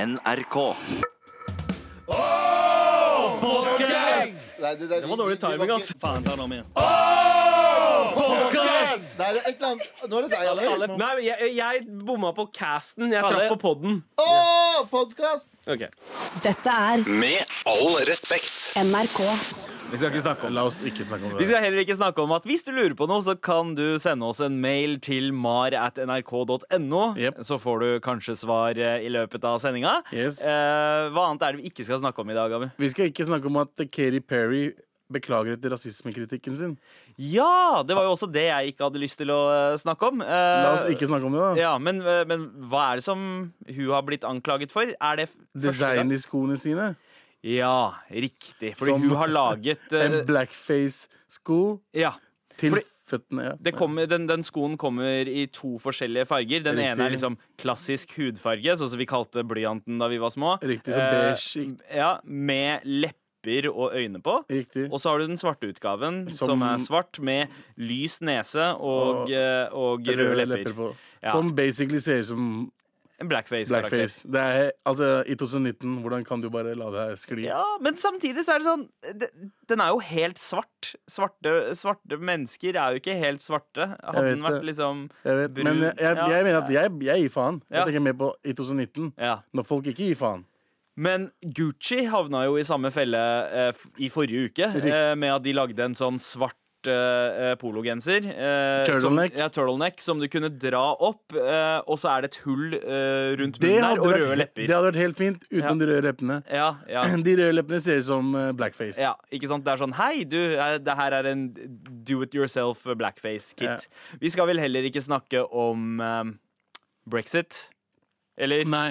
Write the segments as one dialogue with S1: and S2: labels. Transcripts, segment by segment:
S1: NRK.
S2: Nei, det, det,
S3: Det var dårlig timing, ass. Faen, ta den om igjen.
S2: Nei, det er et eller annet Nå er det deg, Alex.
S4: Nei, men jeg, jeg bomma på casten. Jeg traff
S3: Alle-
S4: på podden.
S2: Å, podkast!
S4: Ok.
S5: Dette er
S1: Med all respekt.
S5: NRK.
S6: Vi skal ikke snakke om La oss ikke snakke om
S3: Vi skal heller ikke snakke om at hvis du lurer på noe, så kan du sende oss en mail til mar at nrk.no.
S6: Yep.
S3: Så får du kanskje svar eh, i løpet av sendinga.
S6: Yes.
S3: Eh, hva annet er det vi ikke skal snakke om i dag, Abu?
S6: Vi skal ikke snakke om at Keri Perry beklager etter rasismekritikken sin.
S3: Ja! Det var jo også det jeg ikke hadde lyst til å eh, snakke om. Eh,
S6: La oss ikke snakke om det, da.
S3: ja, men, eh, men hva er det som hun har blitt anklaget for? Er det f- første gang?
S6: Design i skoene sine.
S3: Ja, riktig. Fordi
S6: Som-
S3: hun har laget
S6: En
S3: eh,
S6: blackface-sko
S3: Ja.
S6: til
S3: Fordi-
S6: føttene. Ja.
S3: Det kommer, den, den skoen kommer i to forskjellige farger. Den
S6: Riktig.
S3: ene er liksom klassisk hudfarge, sånn som vi kalte blyanten da vi var små.
S6: Riktig, som
S3: Eh,
S6: beige.
S3: ja, med lepper og øyne på.
S6: Riktig.
S3: Og så har du den svarte utgaven, som,
S6: Som-
S3: er svart med lys nese og,
S6: Og-
S3: eh, og røde, lepper.
S6: på.
S3: Ja.
S6: Som basically ser ut som
S3: En blackface-karakter.
S6: blackface. Det er, altså, I 2019, hvordan kan du bare la det her skli?
S3: Ja, men samtidig så er det sånn det- Den er jo helt svart. Svarte, svarte mennesker er jo ikke helt svarte. Hadde
S6: vet
S3: den vært
S6: det.
S3: liksom
S6: Jeg vet, men
S3: brun-
S6: jeg, jeg,
S3: Ja.
S6: mener at jeg, jeg gir faen.
S3: Ja.
S6: Jeg tenker mer på i 2019,
S3: ja.
S6: når folk ikke gir faen.
S3: Men Gucci havna jo i samme felle eh, f- i forrige uke eh, med at de lagde en sånn svart eh, eh, pologenser. eh,
S6: Turtleneck.
S3: Som, ja, turtleneck som du kunne dra opp, eh, og så er det et hull eh, rundt
S6: Det
S3: munnen
S6: hadde,
S3: der og
S6: vært,
S3: røde
S6: det
S3: lepper.
S6: hadde vært helt fint
S3: Ja.
S6: uten de røde leppene.
S3: Ja, ja,
S6: De røde leppene ser ut som eh, blackface.
S3: ja, ikke sant? Det er sånn Hei, du, eh, det her er en do it yourself blackface-kit. Vi skal vel heller ikke snakke om eh, brexit, eller?
S6: Nei.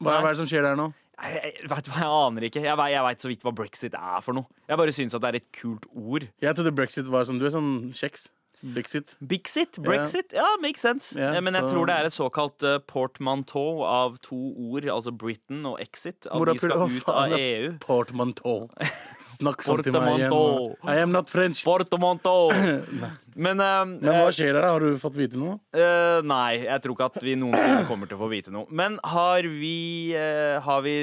S6: Hva,
S3: Nei.
S6: hva er det som skjer der nå?
S3: Jeg, jeg, vet du hva, jeg aner ikke. Jeg, ve- jeg veit så vidt hva brexit er for noe. Jeg bare syns at det er et kult ord.
S6: Jeg trodde brexit var som du er sånn kjeks. Brexit.
S3: Bixit, Brexit, ja, makes sense.
S6: Ja,
S3: Eh, Men jeg
S6: så-
S3: tror det er et såkalt eh, portmanteau av to ord, altså Britain og exit. At de
S6: Morapuler-
S3: skal
S6: Å,
S3: ut
S6: faen,
S3: av E
S6: ja.
S3: EU.
S6: Portmanteau. Snakk sånn til meg igjen.
S3: Portmanteau.
S6: I am not French.
S3: Portmanteau! Men, eh,
S6: Men hva
S3: eh,
S6: skjer der? da? Har du fått vite noe?
S3: eh, Nei, jeg tror ikke at vi noensinne kommer til å få vite noe. Men har vi, eh, har vi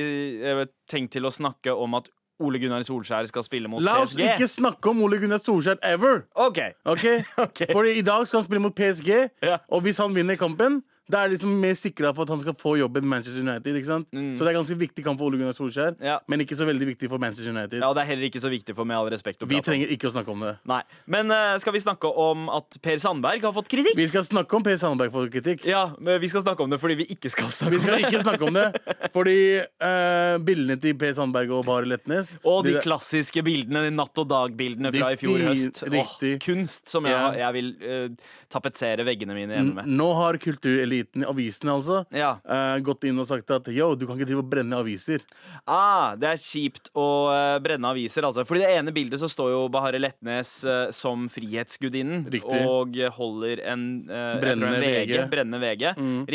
S3: eh, tenkt til å snakke om at Ole Gunnar Solskjær skal spille mot
S6: La oss
S3: PSG?
S6: ikke snakke om Ole Gunnar Solskjær ever!
S3: OK.
S6: Ok?
S3: Ok.
S6: Fordi i dag skal han spille mot PSG,
S3: Ja.
S6: og hvis han vinner kampen da er det liksom mer sikra for at han skal få jobben med Manchester United. ikke sant? Så det er ganske viktig kamp for Ole Gunnar Solskjær,
S3: Mm. Ja.
S6: men ikke så veldig viktig for Manchester United.
S3: Ja, og det er heller ikke så viktig for meg, med all respekt. å
S6: Vi
S3: prate om.
S6: trenger ikke å snakke om det.
S3: Nei. Men eh, skal vi snakke om at Per Sandberg har fått kritikk?
S6: Vi skal snakke om Per Sandberg for kritikk.
S3: Ja, men vi skal snakke om det fordi vi ikke skal snakke
S6: Vi skal
S3: om det.
S6: ikke snakke om det, fordi eh, bildene til Per Sandberg og Bare Letnes
S3: Og de
S6: der-
S3: klassiske bildene, de natt og dag-bildene
S6: De
S3: fra i fjor
S6: fint-
S3: høst. Åh,
S6: riktig.
S3: kunst som jeg,
S6: Ja. Mm,
S3: jeg vil eh, tapetsere veggene mine hjemme med.
S6: Nå har kultureliten, avisene altså,
S3: Ja.
S6: eh, gått inn og sagt at yo, du kan ikke drive og brenne aviser.
S3: Ah, det er kjipt å eh, brenne aviser, altså. For i det ene bildet så står jo Bahareh Letnes eh, som frihetsgudinnen.
S6: Riktig.
S3: Og holder en eh, jeg tror
S6: Brennende Mm.
S3: en VG.
S6: VG.
S3: Brennende VG.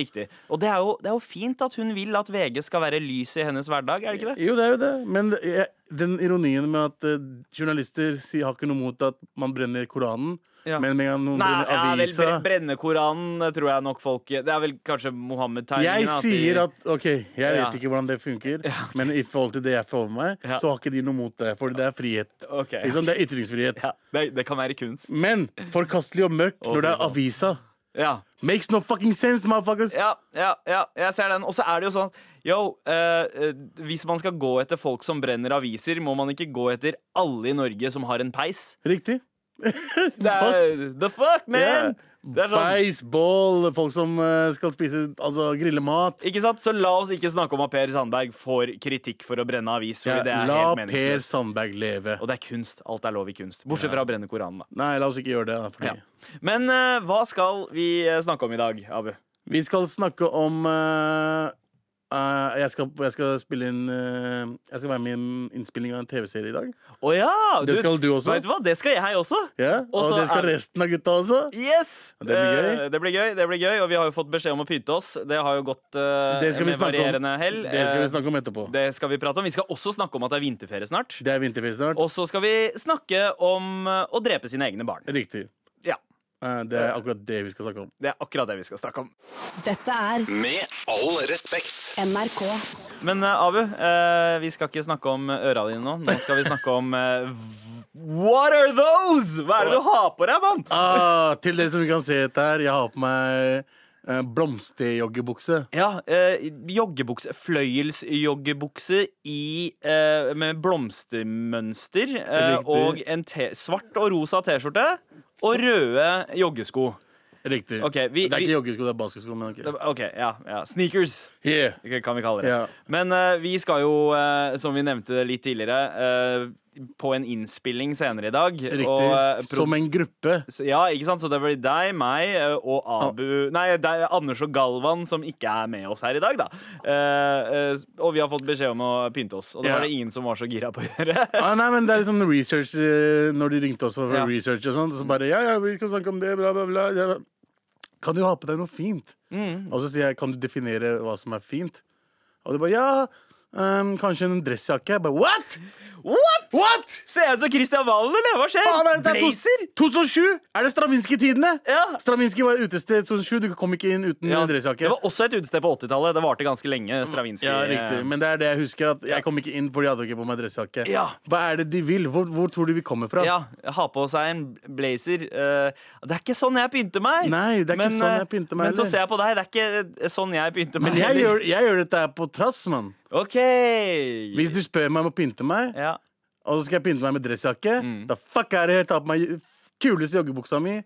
S3: Riktig. Og det er, jo, det er jo fint at hun vil at VG skal være lys i hennes hverdag, er det ikke det?
S6: Jo, det er jo det, men jeg, den ironien med at eh, journalister sier, har ikke noe mot at man brenner Koranen,
S3: Ja.
S6: men med en gang noen
S3: Nei, ja,
S6: brenner
S3: vel,
S6: avisa
S3: bre- brenne Koranen eh, tror jeg nok folk Det er vel kanskje Mohammed-tegningen.
S6: Jeg sier
S3: de-
S6: at OK, jeg
S3: Ja.
S6: vet ikke hvordan det funker, men i forhold til det jeg får med meg,
S3: Ja.
S6: så har ikke de noe mot det, fordi det er frihet.
S3: Ok.
S6: Liksom, det er ytringsfrihet.
S3: ja, det, det kan være kunst.
S6: Men forkastelig og mørkt når det er avisa.
S3: Ja,
S6: Makes no fucking sense, motherfuckers!
S3: ja, ja, ja jeg ser den. Og så er det jo sånn Yo, eh, eh, hvis man skal gå etter folk som brenner aviser, må man ikke gå etter alle i Norge som har en peis.
S6: Riktig.
S3: Det er, the fuck, man! Det er sånn,
S6: Beis, bål, folk som eh, skal spise Altså grille mat.
S3: ikke sant? Så la oss ikke snakke om at Per Sandberg får kritikk for å brenne avis. Fordi det er
S6: la
S3: helt
S6: Per
S3: meningsløst.
S6: Sandberg leve.
S3: Og det er kunst. Alt er lov i kunst. Bortsett fra å brenne Koranen, da.
S6: Nei, la oss ikke gjøre det. da, Fordi
S3: Ja. Men eh, hva skal vi eh, snakke om i dag, Abu?
S6: Vi skal snakke om eh, eh, jeg, skal, jeg skal spille inn eh, Jeg skal være med i en innspilling av en TV-serie i dag.
S3: Å ja!
S6: Det skal du også.
S3: Vet du hva? Det skal jeg også.
S6: Ja,
S3: Og
S6: og
S3: så
S6: det skal
S3: er-
S6: resten av gutta også.
S3: Yes!
S6: Det blir gøy.
S3: Eh, Det blir gøy, det blir gøy, og vi har jo fått beskjed om å pynte oss. Det har jo gått eh,
S6: Det skal vi
S3: med
S6: snakke om,
S3: varierende hell.
S6: det skal
S3: Eh,
S6: vi snakke om etterpå.
S3: det skal vi prate om. Vi skal også snakke om at det er vinterferie snart.
S6: Det er vinterfest snart.
S3: Og så skal vi snakke om eh, å drepe sine egne barn.
S6: Riktig.
S3: Ja,
S6: Eh, det er akkurat det vi skal snakke om.
S3: Det er akkurat det vi skal snakke om.
S5: Dette er
S1: Med all respekt.
S5: NRK.
S3: Men eh, Abu, eh, vi skal ikke snakke om øra dine nå. Nå skal vi snakke om eh, v- What are those?! Hva er det du har på deg, mann?
S6: Ah, til dere som ikke kan se dette her, jeg har på meg eh, blomsterjoggebukse.
S3: Ja, eh, joggebukse. Fløyelsjoggebukse i eh, Med blomstermønster. Eh,
S6: Riktig.
S3: og en te svart og rosa T-skjorte. Og røde joggesko.
S6: Riktig.
S3: Ok, vi-
S6: det er
S3: vi-
S6: ikke joggesko, det er baskesko. Men ok.
S3: OK, ja. ja. Sneakers.
S6: Yeah.
S3: Det kan vi kalle det.
S6: Ja.
S3: Men eh, vi skal jo, eh, som vi nevnte litt tidligere, eh, på en innspilling senere i dag.
S6: Riktig.
S3: Og, eh, pro-
S6: Som en gruppe.
S3: så, ja, ikke sant? Så det blir deg, meg eh, og Abu Nei, det er Anders og Galvan som ikke er med oss her i dag, da. Eh, eh, og vi har fått beskjed om å pynte oss, og det
S6: Ja.
S3: var det ingen som var så gira på å gjøre.
S6: Ah, nei, men det er liksom research eh, Når de ringte oss for
S3: Ja. Mm.
S6: research og sånt, så bare Ja, ja, vi kan snakke om det, bla, bla, bla. Jeg bare, Kan du ha på deg noe fint?
S3: Mm.
S6: Og så sier jeg, kan du definere hva som er fint? Og de bare, ja, ehm, kanskje en dressjakke. Jeg bare, what?
S3: What?!
S6: What?
S3: Ser jeg ut som Christian Valen, eller? Hva skjer?
S6: Faen, er det der
S3: Blazer?
S6: to- 2007? Er det Stravinskij-tidene?
S3: Ja.
S6: Stravinskij var utested 2007. Du kom ikke inn uten
S3: Ja,
S6: en dressjakke.
S3: det var også et utested på 80-tallet. Det varte ganske lenge. Stravinskij. eh,
S6: Ja, riktig. Men det er det jeg husker. at Jeg kom ikke inn fordi jeg hadde ikke på meg dressjakke.
S3: Ja.
S6: Hva er det de vil? Hvor, hvor tror du vi kommer fra?
S3: Ja, ha på seg en blazer. Eh, det er ikke sånn jeg pynter meg.
S6: Nei, det er ikke
S3: men,
S6: sånn jeg
S3: eh,
S6: pynter meg
S3: Men så
S6: heller.
S3: ser jeg på deg, det er ikke sånn jeg pynter meg.
S6: Men jeg
S3: heller.
S6: gjør, jeg gjør dette her på trass, mann.
S3: OK.
S6: Hvis du spør meg om å pynte meg,
S3: ja. Mm.
S6: og så skal jeg pynte meg med dressjakke, da fuck er det helt ta på meg kuleste joggebuksa mi,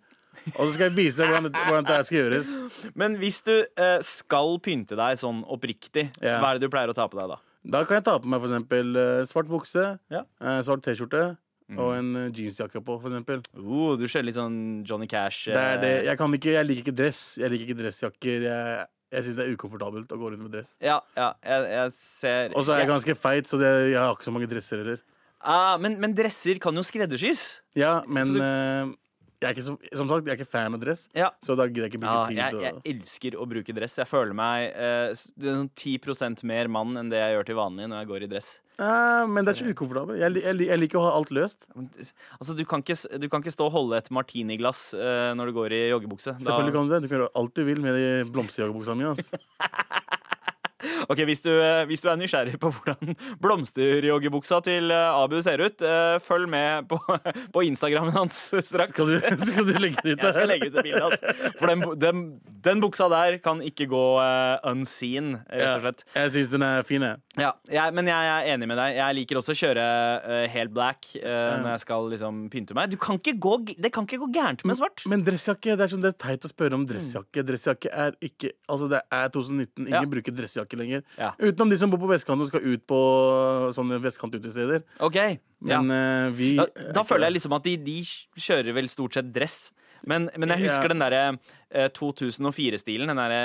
S6: og så skal jeg vise deg hvordan, det- hvordan det her skal gjøres.
S3: Men hvis du eh, skal pynte deg sånn oppriktig,
S6: Ja.
S3: hva er det du pleier å ta på deg da?
S6: Da kan jeg ta på meg for eksempel eh, svart bukse,
S3: Ja. Mm.
S6: eh, svart T-skjorte og en eh, jeansjakke på, for eksempel.
S3: Oh, du skjønner litt sånn Johnny Cash. eh,
S6: Det er det. Jeg, kan ikke, jeg liker ikke dress. Jeg liker ikke dressjakker. Jeg, jeg syns det er ukomfortabelt å gå rundt med dress.
S3: Ja, ja, jeg, jeg ser
S6: eh, Og så er jeg
S3: Ja.
S6: ganske feit, så det, jeg har ikke så mange dresser heller.
S3: Ah, men, men dresser kan jo skreddersys.
S6: Ja, men
S3: Så du-
S6: eh, jeg er ikke så, som sagt, jeg er ikke fan av dress,
S3: Ja.
S6: så da gidder jeg ikke bruke
S3: Ja,
S6: tid.
S3: jeg, jeg
S6: og-
S3: elsker å bruke dress. Jeg føler meg eh, s- det er sånn 10 mer mann enn det jeg gjør til vanlig når jeg går i dress.
S6: Ah, men det er ikke ukomfortabelt. Jeg, li- jeg, li- jeg liker å ha alt løst.
S3: Men, Altså, du kan, ikke, s- du kan ikke stå og holde et martiniglass eh, når du går i joggebukse. Da-
S6: Selvfølgelig kan du det. Du kan gjøre alt du vil med de blomsterjoggebuksa mi. ass.
S3: Ok, hvis du, eh, hvis du er nysgjerrig på hvordan blomsterjoggebuksa til eh, Abu ser ut, eh, følg med på, på Instagrammen hans straks.
S6: Skal, du- skal du legge det ut?
S3: Jeg skal legge ut et bilde, altså. For den, bu- den, den buksa der kan ikke gå eh, unseen, rett og slett.
S6: Jeg syns den er fin, jeg.
S3: Ja, jeg, men jeg er enig med deg. Jeg liker også å kjøre eh, helt black eh, når jeg skal liksom pynte meg. Du kan ikke gå, g- det kan ikke gå gærent med svart.
S6: Men dressjakke, det er sånn det er teit å spørre om dressjakke. Dressjakke er ikke Altså, det er 2019. Ingen
S3: Ja.
S6: bruker dressjakke lenger.
S3: Ja.
S6: Utenom de som bor på vestkanten og skal ut på sånne vestkantutesteder.
S3: Ok, ja.
S6: Men eh, vi
S3: Da, da føler jeg liksom at de, de kjører vel stort sett dress. Men, men jeg husker
S6: Ja.
S3: den derre eh, 2004-stilen. Den derre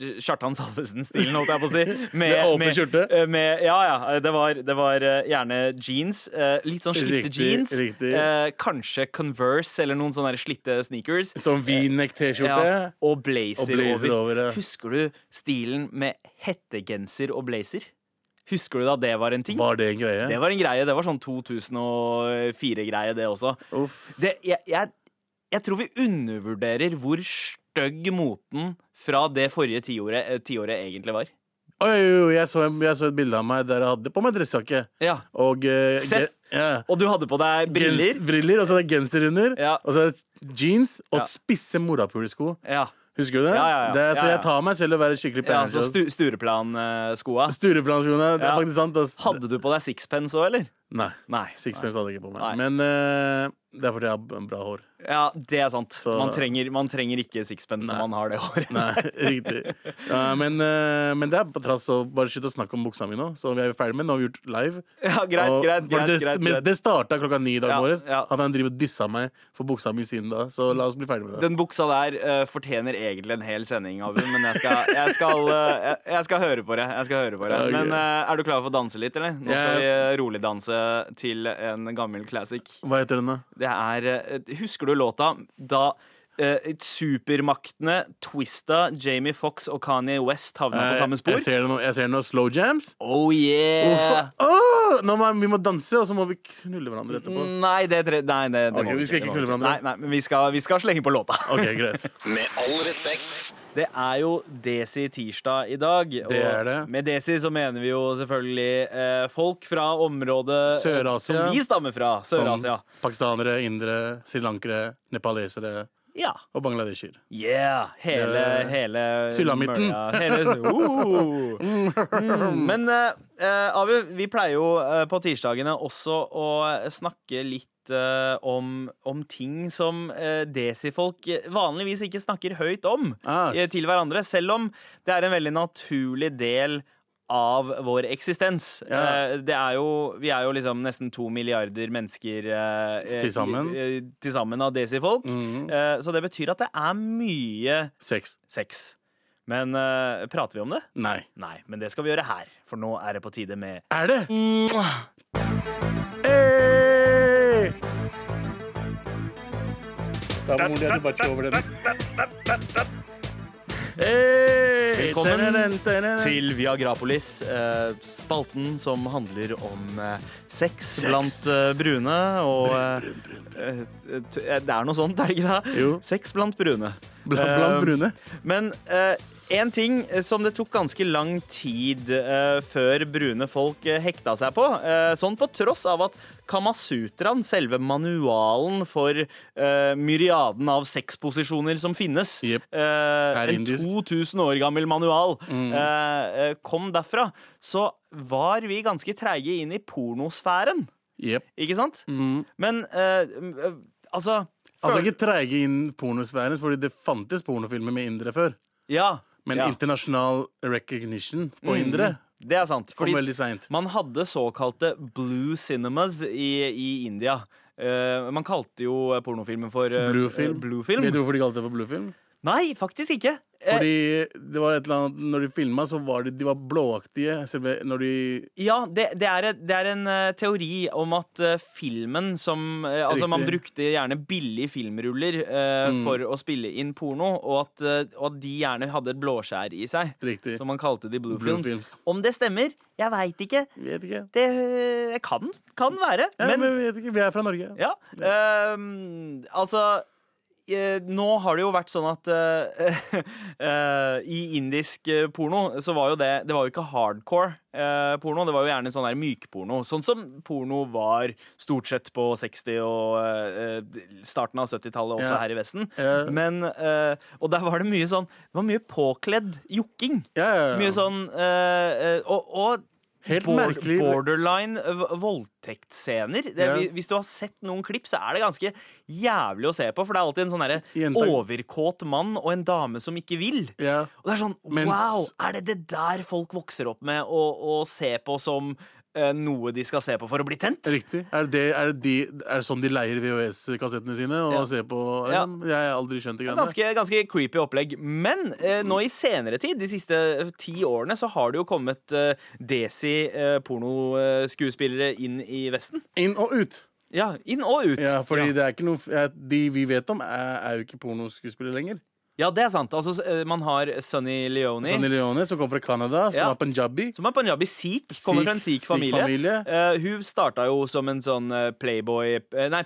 S3: eh, Kjartan Salvesen-stilen, holdt jeg på å si.
S6: Med åpen skjorte?
S3: eh, Med, ja, ja. Det var, det var eh, gjerne jeans. eh, Litt sånn slitte
S6: Riktig,
S3: jeans.
S6: riktig.
S3: eh, Kanskje Converse eller noen sånne der slitte sneakers.
S6: Sånn V-neck-T-skjorte.
S3: Ja, og blazer,
S6: Og
S3: over.
S6: blazer over, ja.
S3: Husker du stilen med hettegenser og blazer? Husker du da det var en ting?
S6: Var det en greie?
S3: Det var en greie, det var sånn 2004-greie, det også.
S6: Uff.
S3: Det, jeg, jeg, jeg tror vi undervurderer hvor stygg moten fra det forrige tiåret, eh, tiåret egentlig var.
S6: Oi, oi, oi, jeg, så, jeg så et bilde av meg der jeg hadde på meg dressjakke.
S3: Ja.
S6: Og eh,
S3: Seff.
S6: ge- ja.
S3: Og du hadde på deg briller.
S6: Gens- briller, og så er det genser under.
S3: Ja.
S6: Og så er det jeans og
S3: Ja.
S6: spisse morapulesko.
S3: Ja,
S6: Husker du det?
S3: Ja, ja, ja.
S6: det er, så
S3: Ja, ja.
S6: jeg tar meg selv i å være skikkelig
S3: ja
S6: pæren.
S3: så stu, Stureplan-skoa.
S6: Stureplanskoene. Det er
S3: Ja.
S6: faktisk sant. ass.
S3: Hadde du på deg sixpence òg, eller?
S6: Nei.
S3: Nei.
S6: Sixpence hadde jeg ikke på meg.
S3: Nei.
S6: Men eh, det er fordi jeg har b- bra hår.
S3: Ja, det er sant.
S6: Så-
S3: Man, trenger, man trenger ikke sixpence når man har det håret.
S6: Nei, riktig. Ja, men, eh, men det er på trass å bare slutte å snakke om buksa mi nå. Så vi er jo ferdig med den. Nå har vi gjort live.
S3: Ja, greit,
S6: Og-
S3: greit,
S6: for
S3: greit,
S6: det,
S3: greit,
S6: men
S3: greit.
S6: det starta klokka ni i dag
S3: Ja,
S6: morges.
S3: ja.
S6: At han driver og dissa meg for buksa mi siden da. Så la oss bli ferdig med det.
S3: Den buksa der eh, fortjener egentlig en hel sending, Abu, men jeg skal, jeg, skal, eh, jeg, jeg skal høre på det. Jeg skal høre på det.
S6: Ja, ok.
S3: Men eh, er du klar for å danse litt, eller? Nå
S6: Ja, ja.
S3: skal vi eh, roligdanse til en gammel classic.
S6: Hva heter den, da?
S3: Det er eh, Husker du låta da eh, supermaktene Twista, Jamie Fox og Kanye West havna på samme
S6: Eh, Jeg
S3: spor?
S6: ser det nå. Jeg ser det nå. Slow jams.
S3: Oh yeah!
S6: Uff. Åh! «Woo!» Nå må, vi må danse, og så må vi knulle hverandre etterpå.
S3: Nei, det, tre... nei, det, det
S6: Ok,
S3: må
S6: vi skal ikke
S3: det må
S6: knulle hverandre.
S3: Nei, nei, men vi skal, vi skal slenge på låta.
S6: Ok, greit.
S1: Med all respekt.
S3: Det er jo Desi tirsdag i dag. og
S6: Det er det.
S3: Med Desi så mener vi jo selvfølgelig eh, folk fra området eh,
S6: Sør-Asia.
S3: som vi stammer fra. Sør-Asia.
S6: Som Pakistanere, indere, srilankere, nepalesere
S3: Ja.
S6: og bangladesher.
S3: Yeah! Hele,
S6: Det-
S3: hele
S6: Sylamitten.
S3: Mørja. Hele, uh. mm. Men eh, eh, Abu, vi pleier jo eh, på tirsdagene også å snakke litt eh, om, om ting som eh, desifolk vanligvis ikke snakker høyt om
S6: Ah,
S3: eh, til hverandre, selv om det er en veldig naturlig del av vår eksistens.
S6: Ja.
S3: Eh, Det er jo, vi er jo liksom nesten to milliarder mennesker eh, eh,
S6: Til sammen.
S3: i- eh, til sammen av desifolk.
S6: Mhm.
S3: Eh, Så det betyr at det er mye
S6: Sex.
S3: sex. Men eh, prater vi om det?
S6: Nei.
S3: Nei, men det skal vi gjøre her. For nå er det på tide med
S6: Er det? Hey! Da må du bare ikke over den. Hey!
S3: Velkommen
S6: Tenen, tenen.
S3: til Viagrapolis, eh, spalten som handler om eh, sex, blant eh, brune og
S6: Brun, brun.
S3: eh, eh, t- eh, Det er noe sånt, er det ikke det?
S6: Jo.
S3: Sex blant brune.
S6: Blant, blant
S3: Eh,
S6: brune.
S3: Men eh, en ting som det tok ganske lang tid eh, før brune folk eh, hekta seg på, eh, sånn på tross av at Kamasutraen, selve manualen for eh, myriaden av sexposisjoner som finnes,
S6: Jep.
S3: eh,
S6: Er
S3: en
S6: indisk. Mm.
S3: 2000 år gammel manual, eh, eh, kom derfra, så var vi ganske treige inn i pornosfæren,
S6: Jepp.
S3: ikke sant?
S6: Mm.
S3: Men eh, m- eh, altså
S6: Altså
S3: føl-
S6: ikke treige inn pornosfæren, fordi det fantes pornofilmer med indere før.
S3: Ja.
S6: Men
S3: ja.
S6: internasjonal recognition på indere
S3: Det er sant.
S6: kom
S3: fordi-
S6: veldig seint.
S3: Man hadde såkalte blue cinemas i, i India. Eh, man kalte jo pornofilmen for eh,
S6: Bluefilm.
S3: eh, bluefilm.
S6: Vet du hvorfor de kalte det for bluefilm?
S3: Nei, faktisk ikke. Eh,
S6: Fordi det var et eller annet Når de filma, så var de, de var blåaktige. Selve når de
S3: ja, det, det, er, et- det er en eh, teori om at eh, filmen som eh, Altså, man
S6: Riktig. Mm.
S3: brukte gjerne billige filmruller eh, for å spille inn porno, og at, eh, og at de gjerne hadde et blåskjær i seg.
S6: Riktig.
S3: Så man kalte de blue,
S6: Blue
S3: films.
S6: films.
S3: Om det stemmer, jeg veit ikke.
S6: Vet ikke.
S3: Det eh, kan, kan være.
S6: Ja, men, vi vet ikke. Vi er fra Norge.
S3: Ja. ehm, altså eh, Nå har det jo vært sånn at eh, eh, i indisk eh, porno så var jo det Det var jo ikke hardcore eh, porno, det var jo gjerne sånn der mykporno. Sånn som porno var stort sett på 60- og eh, starten av 70-tallet også
S6: Ja.
S3: her i Vesten.
S6: Ja.
S3: Men, eh, og der var det mye sånn Det var mye påkledd jokking.
S6: Ja, ja, ja.
S3: Mye sånn eh, eh, Og, og
S6: Helt
S3: bor-
S6: merkelig.
S3: borderline eh, v- voldtektsscener. Det,
S6: Ja.
S3: hvis- Hvis du har sett noen klipp, så er det ganske jævlig å se på. For det er alltid en sånn derre
S6: Jenta-
S3: overkåt mann og en dame som ikke vil.
S6: Ja.
S3: Og det er sånn
S6: Mens-
S3: Wow! Er det det der folk vokser opp med å, å se på som eh, noe de skal se på for å bli tent?
S6: Riktig. Er det, er, det de, er det sånn de leier VHS-kassettene sine og
S3: Ja.
S6: ser på?
S3: Ja.
S6: Jeg har aldri skjønt det greiene.
S3: Ganske, ganske creepy opplegg. Men eh, nå i senere tid, de siste eh, ti årene, så har det jo kommet eh, desi-pornoskuespillere inn i Vesten.
S6: Inn og ut.
S3: Ja, inn og ut.
S6: Ja, fordi
S3: ja.
S6: det er ikke noe ja, De vi vet om, er, er jo ikke pornoskuespillere lenger.
S3: Ja, det er sant. Altså, s- eh, man har Sunny Leone,
S6: Sonny Leone, som kommer fra Canada, som
S3: Ja.
S6: er punjabi.
S3: som er punjabi sikh. Kommer fra en
S6: Sikh-
S3: sikh-familie.
S6: sikh-familie.
S3: Eh, hun starta jo som en sånn eh, Playboy eh, Nei,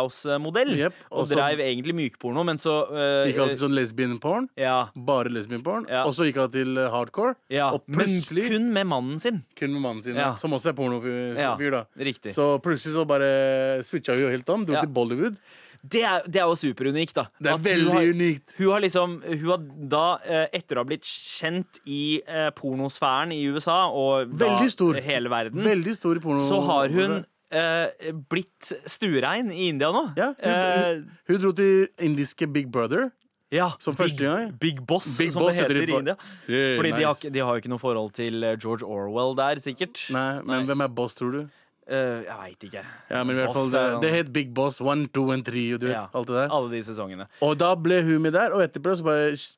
S3: Penthouse-modell.
S6: Jep,
S3: og
S6: og så-
S3: dreiv egentlig mykporno, men så eh,
S6: Gikk alltid sånn lesbian-porn.
S3: Ja.
S6: Bare lesbian-porn.
S3: Ja.
S6: Og så gikk han til eh, hardcore.
S3: ja.
S6: Og
S3: Men
S6: plutselig kun,
S3: kun med mannen sin.
S6: med mannen sin,
S3: Ja.
S6: som også er pornofyr.
S3: Ja,
S6: fyr da.
S3: riktig.
S6: Så plutselig så bare switcha hun jo helt om. Dro
S3: Ja.
S6: til Bollywood.
S3: Det er, det er jo superunikt, da.
S6: Det er
S3: At hun
S6: veldig
S3: har-
S6: unikt.
S3: Hun har liksom, hun har da, eh, etter å ha blitt kjent i eh, pornosfæren i USA og da
S6: Veldig stor.
S3: hele verden,
S6: Veldig stor porno...
S3: så har hun eh, blitt stuerein i India nå.
S6: Ja, hun,
S3: Eh,
S6: hun, hun dro til indiske Big Brother.
S3: ja,
S6: Som
S3: Big,
S6: første gang.
S3: Big Boss,
S6: Big
S3: som
S6: Boss
S3: det
S6: heter
S3: heter
S6: de
S3: i
S6: på-
S3: India.
S6: Yeah,
S3: Fordi de, har,
S6: nice.
S3: ikke- de har jo ikke noe forhold til eh, George Orwell der, sikkert.
S6: Nei, men hvem er boss, tror du?
S3: Eh, jeg veit ikke.
S6: Ja, men i hvert fall,
S3: Boss
S6: det,
S3: er han.
S6: det het Big Boss 1, 2 and 3 og du vet,
S3: Ja,
S6: alt det der.
S3: Alle de sesongene.
S6: Og da ble hun med der, og etterpå så bare s-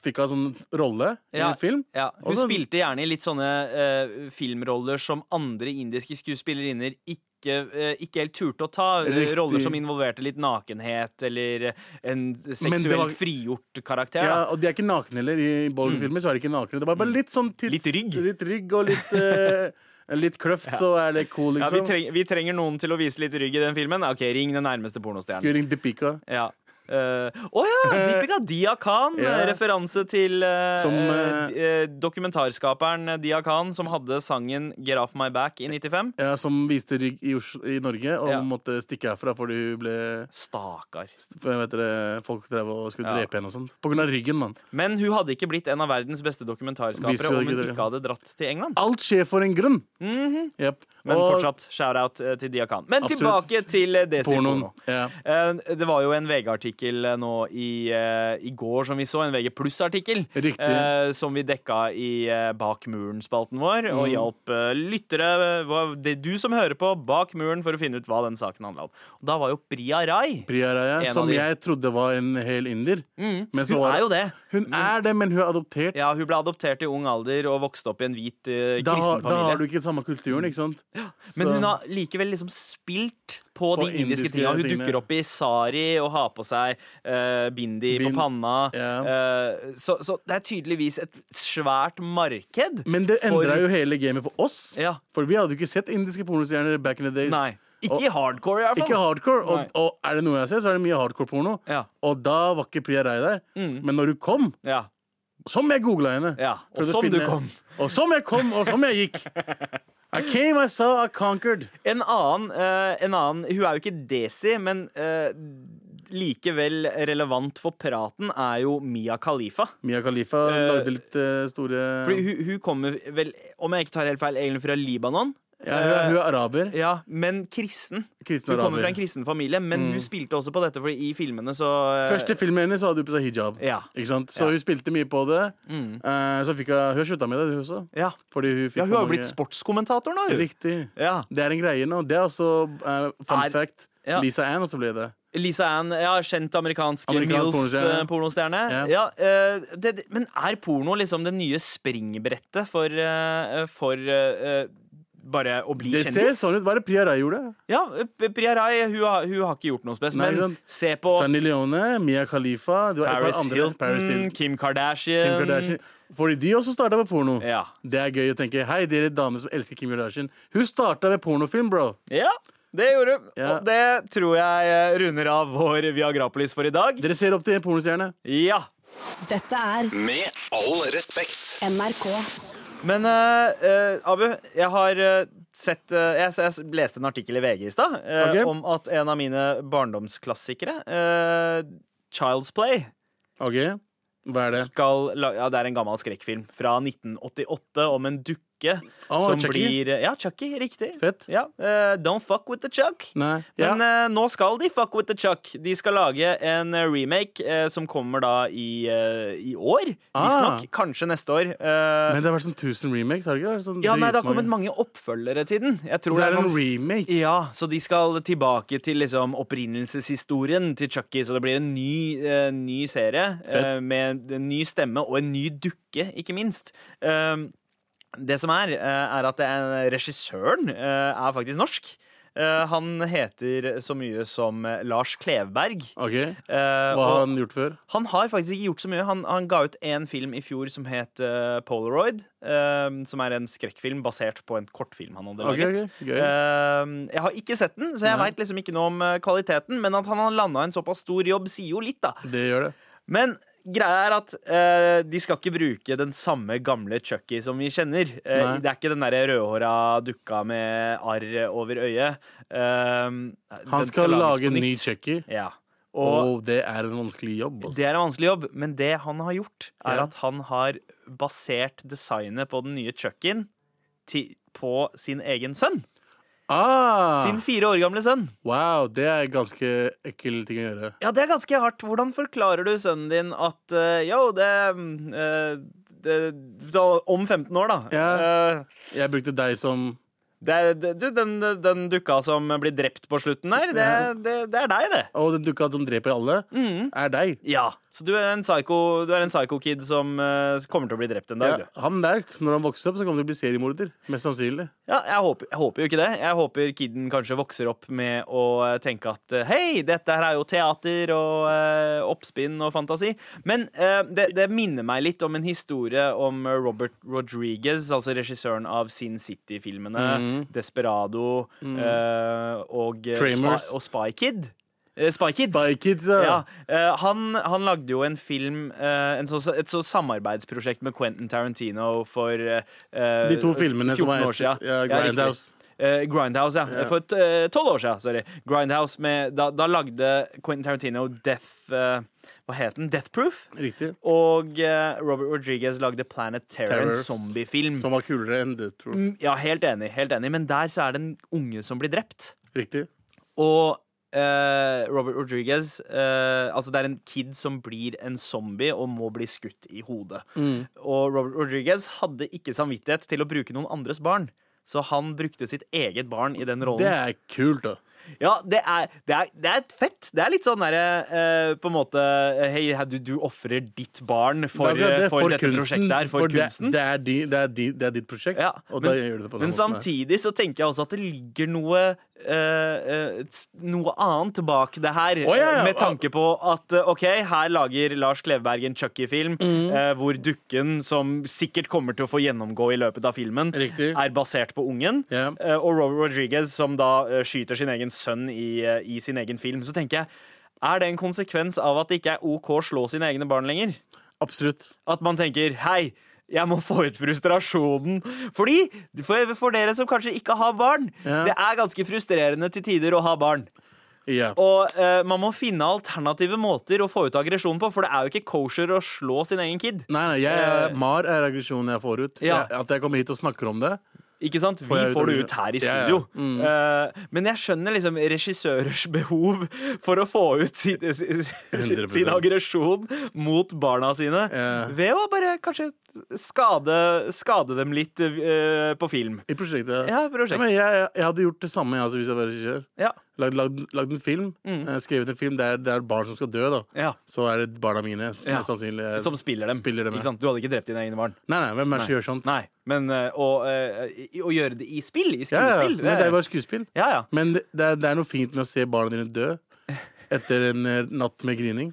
S6: fikk hun sånn rolle i
S3: Ja,
S6: en film.
S3: Ja, Hun
S6: Og så-
S3: spilte gjerne i litt sånne eh, filmroller som andre indiske skuespillerinner ikke, eh, ikke helt turte å ta. Eh,
S6: Riktig.
S3: Roller som involverte litt nakenhet eller en
S6: Men det
S3: seksuelt
S6: var-
S3: frigjort karakter.
S6: Ja,
S3: da.
S6: og de er ikke nakne heller. I Bollywood-filmer så er de ikke nakne. Det var bare litt sånn tits,
S3: Litt Mm. rygg.
S6: Litt rygg og litt eh, litt kløft, så er det cool,
S3: Ja, vi,
S6: liksom.
S3: treng, vi trenger noen til å vise litt rygg i den filmen. Ok, ring den nærmeste pornostjernen.
S6: Skulle ringt Dipika,
S3: Ja. Eh, Å ja! Deepika Dia Khan.
S6: Ja.
S3: eh, Referanse til eh,
S6: Som, eh,
S3: eh, dokumentarskaperen Dia Khan, som hadde sangen 'Get Off My Back' i 95.
S6: ja, som viste rygg i, Oslo, i Norge og
S3: Ja.
S6: måtte stikke herfra fordi hun ble
S3: Stakkar.
S6: vet dere, Folk drev og skulle
S3: Ja.
S6: drepe henne og sånn. På grunn av ryggen, mann.
S3: Men hun hadde ikke blitt en av verdens beste
S6: Viser
S3: dokumentarskapere
S6: jo
S3: om hun
S6: ikke det.
S3: ikke hadde dratt til England.
S6: Alt skjer for en grunn. Jep.
S3: Mhm. Men
S6: Og
S3: fortsatt shout-out eh, til Dia Khan. Men
S6: Absolutt.
S3: tilbake til eh, Desi
S6: pornoen.
S3: Porno.
S6: Ja.
S3: Eh, Det var jo en VG-artikkel eh, nå i, eh, i går som vi så, en VG pluss-artikkel,
S6: Riktig.
S3: eh, som vi dekka i eh, Bak muren-spalten vår, og
S6: Mm.
S3: hjalp eh, lyttere, eh, hva- det er du som hører på, bak muren for å finne ut hva den saken handla om. Og da var jo Priya Rai
S6: Priya
S3: En
S6: Raya,
S3: av
S6: som
S3: de. Mm.
S6: jeg trodde var en hel inder. Men så
S3: Hun
S6: var-
S3: er jo det. Mm.
S6: Hun er det, men hun er adoptert.
S3: Ja, Hun ble adoptert i ung alder og vokste opp i en hvit eh,
S6: da, har-
S3: kristen
S6: da har du
S3: familie.
S6: ikke samme kulturen, ikke sant?
S3: Men
S6: Så-
S3: hun har likevel liksom spilt på,
S6: På
S3: de indiske
S6: indiske
S3: tinga. Hun
S6: tingene.
S3: dukker opp i sari og har på seg eh, bindi
S6: Bind-
S3: på panna.
S6: Ja.
S3: Eh, så, så det er tydeligvis et svært marked.
S6: Men det
S3: for-
S6: endra jo hele gamet for oss.
S3: Ja.
S6: For vi hadde jo ikke sett indiske pornostjerner back in the days.
S3: Nei. Ikke i hardcore, i hvert fall.
S6: Ikke hardcore. Og,
S3: Nei.
S6: og er det noe jeg ser, så er det mye hardcore porno.
S3: Ja.
S6: Og da var ikke Priya Rai der. Men når hun kom,
S3: Ja.
S6: som jeg googla henne
S3: Ja, og
S6: prøvde å
S3: som du kom.
S6: Og som jeg kom, og som jeg gikk. I came, I saw, I conquered.
S3: En annen, eh, en annen Hun er jo ikke Desi, men eh, likevel relevant for praten er jo Mia Khalifa.
S6: Mia Khalifa
S3: Eh,
S6: lagde litt eh, store
S3: Fordi hun, hun kommer vel, om jeg ikke tar helt feil, egentlig fra Libanon.
S6: ja, hun, er- hun er araber.
S3: eh, Ja, men kristen.
S6: Kristen
S3: Hun kommer fra
S6: araber.
S3: en kristen familie, men hun spilte også på dette, fordi i filmene så eh,
S6: Første filmen hennes så hadde hun på seg hijab.
S3: Ja. Mm.
S6: Ikke sant? Så hun spilte mye på det. Eh, så fikk hun, hun slutta med det, hun også.
S3: Ja,
S6: Fordi hun fikk
S3: ja hun
S6: for
S3: har jo
S6: mange-
S3: blitt sportskommentator nå, hun.
S6: Riktig.
S3: Ja.
S6: Det er en greie nå. Det er også eh, fun
S3: Er-
S6: fact.
S3: ja.
S6: Lisa Ann også ble det.
S3: Lisa Ann, ja, kjent amerikansk,
S6: Amerikansk pornostjerne.
S3: MILF-pornostjerne.
S6: Ja.
S3: Ja, eh, det- det- men er porno liksom det nye springbrettet for, eh, for eh, bare å bli
S6: Det ser
S3: kjendis?
S6: sånn ut. Hva er det Priya Rai gjorde?
S3: Ja, P- Priya Rai hun, har- hun har ikke gjort noe spes,
S6: Nei,
S3: men
S6: ikke sant?
S3: se på
S6: Sunny Leone, Mia Khalifa det var et par
S3: Paris
S6: andre.
S3: Hilton,
S6: Paris
S3: Kim
S6: Hilton, Kim
S3: Kardashian.
S6: Kardashian. Fordi de også starta med porno.
S3: Ja.
S6: Det er gøy å tenke. Hei, dere damer som elsker Kim Kardashian. Hun starta med pornofilm, bro.
S3: Ja, det gjorde hun.
S6: Ja.
S3: Og det tror jeg eh, runder av vår Viagrapolis for i dag.
S6: Dere ser opp til en pornostjerne.
S3: Ja.
S5: Dette er
S1: Med all respekt.
S5: NRK.
S3: Men eh, eh, Abu, jeg har eh, sett eh, jeg, jeg leste en artikkel i VG i stad eh,
S6: Ok.
S3: om at en av mine barndomsklassikere, eh, Child's Play,
S6: OK, hva er det?
S3: skal la Ja, det er en gammel skrekkfilm fra 1988 om en dukke
S6: Å,
S3: som
S6: Chucky?
S3: blir eh, Ja, Chucky. Riktig.
S6: Fett.
S3: Ja, eh, Don't fuck with the Chuck.
S6: Nei. Ja.
S3: Men eh, nå skal de fuck with the chuck. De skal lage en eh, remake eh, som kommer da i, eh, i år.
S6: Ah.
S3: Visstnok. Kanskje neste år. Eh,
S6: Men det har vært sånn 1000 remakes, har det ikke? vært Sånn
S3: ja, nei, det har
S6: dritmange.
S3: kommet mange oppfølgere til den. Jeg tror
S6: Det er en
S3: sånn
S6: remake.
S3: ja, så de skal tilbake til liksom opprinnelseshistorien til Chucky. Så det blir en ny, eh, ny serie eh,
S6: Fett.
S3: med en ny stemme og en ny dukke, ikke minst. Um, det som er, eh, er at det er regissøren eh, er faktisk norsk. Eh, han heter så mye som eh, Lars Klevberg.
S6: OK.
S3: Eh,
S6: Hva har
S3: og
S6: han gjort før?
S3: han har faktisk ikke gjort så mye. Han, han ga ut en film i fjor som het eh, Polaroid. eh, som er en skrekkfilm basert på en kortfilm han hadde
S6: Ok,
S3: laget.
S6: ok, gøy.
S3: Eh, jeg har ikke sett den, så jeg
S6: Nei.
S3: veit liksom ikke noe om eh, kvaliteten. Men at han har landa en såpass stor jobb, sier jo litt, da.
S6: Det gjør det.
S3: Men greia er at eh, de skal ikke bruke den samme gamle Chucky som vi kjenner. Eh,
S6: Nei.
S3: det er ikke den der rødhåra dukka med arr over øyet. Eh,
S6: Han
S3: den
S6: skal
S3: på
S6: lage en ny
S3: nytt.
S6: Chucky.
S3: Ja.
S6: Og
S3: Og
S6: det er en vanskelig jobb. ass.
S3: det er en vanskelig jobb, men det han har gjort, er
S6: Ja.
S3: at han har basert designet på den nye Chuckien ti- på sin egen sønn.
S6: Ah,
S3: Sin fire år gamle sønn.
S6: wow, det er ganske ekkel ting å gjøre.
S3: Ja, det er ganske hardt. Hvordan forklarer du sønnen din at eh, Yo, det, eh, det da, Om 15 år, da.
S6: Ja.
S3: eh,
S6: Jeg brukte deg som
S3: det, er- det, du, den, den dukka som blir drept på slutten der, det,
S6: Ja.
S3: det, det er deg, det. Mm.
S6: Og den dukka som dreper alle, er deg.
S3: Ja. Så du er en psycho, du er en psycho kid som eh, kommer til å bli drept en dag.
S6: Ja,
S3: du.
S6: han der, når han vokser opp, så kommer han til å bli seriemorder. Mest sannsynlig.
S3: Ja, jeg håper, jeg håper jo ikke det. Jeg håper kiden kanskje vokser opp med å eh, tenke at eh, hei, dette her er jo teater og eh, oppspinn og fantasi. Men eh, det, det minner meg litt om en historie om eh, Robert Rodriguez, altså regissøren av Sin City-filmene,
S6: Mm.
S3: Desperado eh, og, eh,
S6: Tremors.
S3: Spy, og Spy Kid. Eh, Spy Kids.
S6: Spy Kids, ja.
S3: ja. Eh, han, han lagde jo en film, eh, en så, et så samarbeidsprosjekt med Quentin Tarantino for eh,
S6: De to filmene som var
S3: 14 år siden.
S6: etter- ja,
S3: riktig.
S6: Grindhouse.
S3: Eh, Grindhouse, ja. For eh, tolv år siden. Sorry. Grindhouse med, da, da lagde Quentin Tarantino Death eh, Hva het den? Death Proof?
S6: Riktig.
S3: Og eh, Robert Rodriguez lagde Planet Terror, en
S6: Terror.
S3: zombiefilm.
S6: Som var kulere enn det, tror jeg.
S3: Mm, Ja, helt enig, helt enig. Men der så er det en unge som blir drept.
S6: Riktig.
S3: Og eh, Robert Rodriguez eh, Altså, det er en kid som blir en zombie og må bli skutt i hodet.
S6: Mm.
S3: Og Robert Rodriguez hadde ikke samvittighet til å bruke noen andres barn. Så han brukte sitt eget barn i den rollen.
S6: Det er kult, da.
S3: Ja, det er, det er, det er fett. Det er litt sånn derre eh, På en måte Hei, du, du ofrer ditt barn for, eh,
S6: Det er akkurat det,
S3: for, dette prosjektet her, for,
S6: for det,
S3: kunsten.
S6: det, er di, det, er di, det er ditt prosjekt,
S3: Ja,
S6: og
S3: men-
S6: da gjør du det på den
S3: Men
S6: måten. her.
S3: samtidig så tenker jeg også at det ligger noe eh, eh, s- Noe annet bak det her.
S6: Å, ja, ja.
S3: Med tanke på at eh, OK, her lager Lars Kleveberg en Chucky-film
S6: Mhm.
S3: eh, hvor dukken, som sikkert kommer til å få gjennomgå i løpet av filmen,
S6: Riktig.
S3: er basert på ungen.
S6: Ja.
S3: Eh, og Robert Rodriguez, som da eh, skyter sin egen sønn i, eh, i sin egen film. Så tenker jeg, er det en konsekvens av at det ikke er OK å slå sine egne barn lenger?
S6: Absolutt.
S3: At man tenker hei, jeg må få ut frustrasjonen. Fordi, for, for dere som kanskje ikke har barn,
S6: Ja.
S3: det er ganske frustrerende til tider å ha barn.
S6: Ja.
S3: Og eh, man må finne alternative måter å få ut aggresjon på, for det er jo ikke kosher å slå sin egen kid.
S6: Nei, nei, jeg,
S3: Eh,
S6: Mar er aggresjonen jeg får ut.
S3: Ja.
S6: Jeg, at jeg kommer hit og snakker om det.
S3: Ikke sant? Vi
S6: jeg ut
S3: får det
S6: aggresjon?
S3: ut her i
S6: Ja, Mm. ja.
S3: studio. Eh, men jeg skjønner liksom regissørers behov for å få ut sin, sin, sin,
S6: 100%.
S3: sin aggresjon mot barna sine
S6: Ja.
S3: ved å bare kanskje skade, skade dem litt eh, på film.
S6: I prosjektet.
S3: Ja, prosjekt.
S6: Ja, men jeg, jeg, jeg hadde gjort det samme jeg, altså, hvis jeg var regissør.
S3: Ja. Mm.
S6: Lagd, lagd, lagd en film, eh, skrevet en film der det er barn som skal dø, da.
S3: Ja.
S6: Så er det barna mine.
S3: Ja.
S6: mest Sannsynlig. Jeg-
S3: Som spiller dem.
S6: Eh, Spiller dem, ja.
S3: ikke sant? Du hadde ikke drept dine egne barn.
S6: Nei, nei, hvem er det som gjør sånt?
S3: Nei, men eh, å, eh, i- å gjøre det i spill, i
S6: Ja, ja,
S3: skuespill
S6: men det er jo bare skuespill.
S3: ja, ja.
S6: Men det, det, er, det er noe fint med å se barna dine dø etter en eh, natt med grining.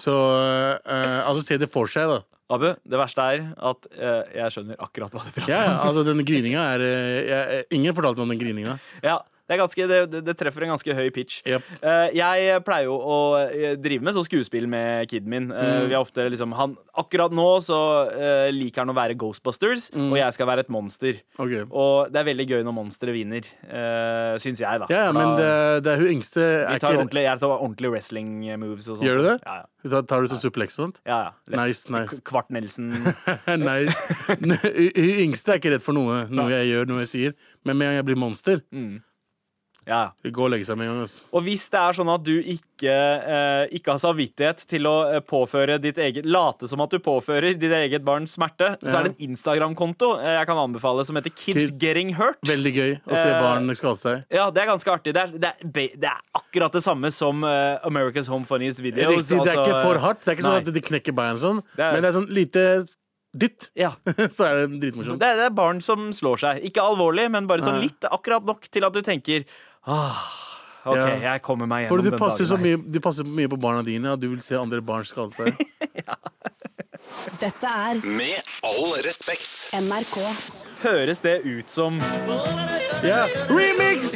S6: Så eh, Altså, se det for seg, da.
S3: Abu, det verste er at eh, jeg skjønner akkurat hva du prater om.
S6: Ja, ja, altså, den grininga er eh, jeg, Ingen fortalte meg om den grininga.
S3: Ja, det, er ganske, det, det- det treffer en ganske høy pitch.
S6: Jep.
S3: Eh, jeg pleier jo å eh, drive med sånn skuespill med kiden min.
S6: Mm.
S3: Eh, vi har ofte liksom, han, akkurat nå så eh, liker han å være Ghostbusters, og jeg skal være et monster.
S6: Mm. Ok.
S3: Og det er veldig gøy når monsteret vinner, uh, syns jeg, da.
S6: Ja, ja,
S3: For
S6: men
S3: da-
S6: det, det er hun yngste er
S3: Vi tar
S6: ikke-
S3: ordentlig, jeg tar ordentlig wrestling moves og sånt.
S6: Gjør du det?
S3: Ja, ja.
S6: Hun tar, tar du sånn suplex og sånt?
S3: ja, ja. Lett.
S6: Nice, nice.
S3: Kvart Nelson.
S6: Nei. Hun hun yngste er ikke redd for noe, noe jeg gjør, noe jeg sier. Men med en gang jeg blir monster,
S3: Mm. Ja, ja.
S6: gå og legge seg med en gang. ass.
S3: Og hvis det er sånn at du ikke, eh, ikke har samvittighet til å eh, påføre ditt eget Late som at du påfører ditt eget barn smerte, så
S6: Ja.
S3: er det en Instagram-konto eh, jeg kan anbefale som heter Kids,
S6: Kids-
S3: Getting Hurt.
S6: Veldig gøy å se
S3: Eh,
S6: barn skade seg.
S3: Ja, det er ganske artig. Det er, det er, ba- det er akkurat det samme som eh, America's Home Funniest Videos.
S6: Riktig, det er
S3: altså,
S6: ikke for hardt. Det er ikke sånn
S3: nei.
S6: at de knekker bein og sånn,
S3: er-
S6: men det er sånn lite dytt,
S3: Ja.
S6: så er det dritmorsomt.
S3: Det er, det er barn som slår seg. Ikke alvorlig, men bare sånn litt. Akkurat nok til at du tenker ah, OK,
S6: Ja.
S3: jeg kommer meg
S6: For
S3: gjennom
S6: du
S3: den
S6: passer, så
S3: dagen. her».
S6: mye, du passer mye på barna dine, og du vil se andre barn skade seg.
S5: Dette er
S1: Med all respekt.
S5: NRK.
S3: Høres det ut som
S6: Ja. Remix!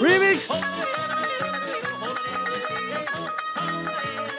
S6: Remix!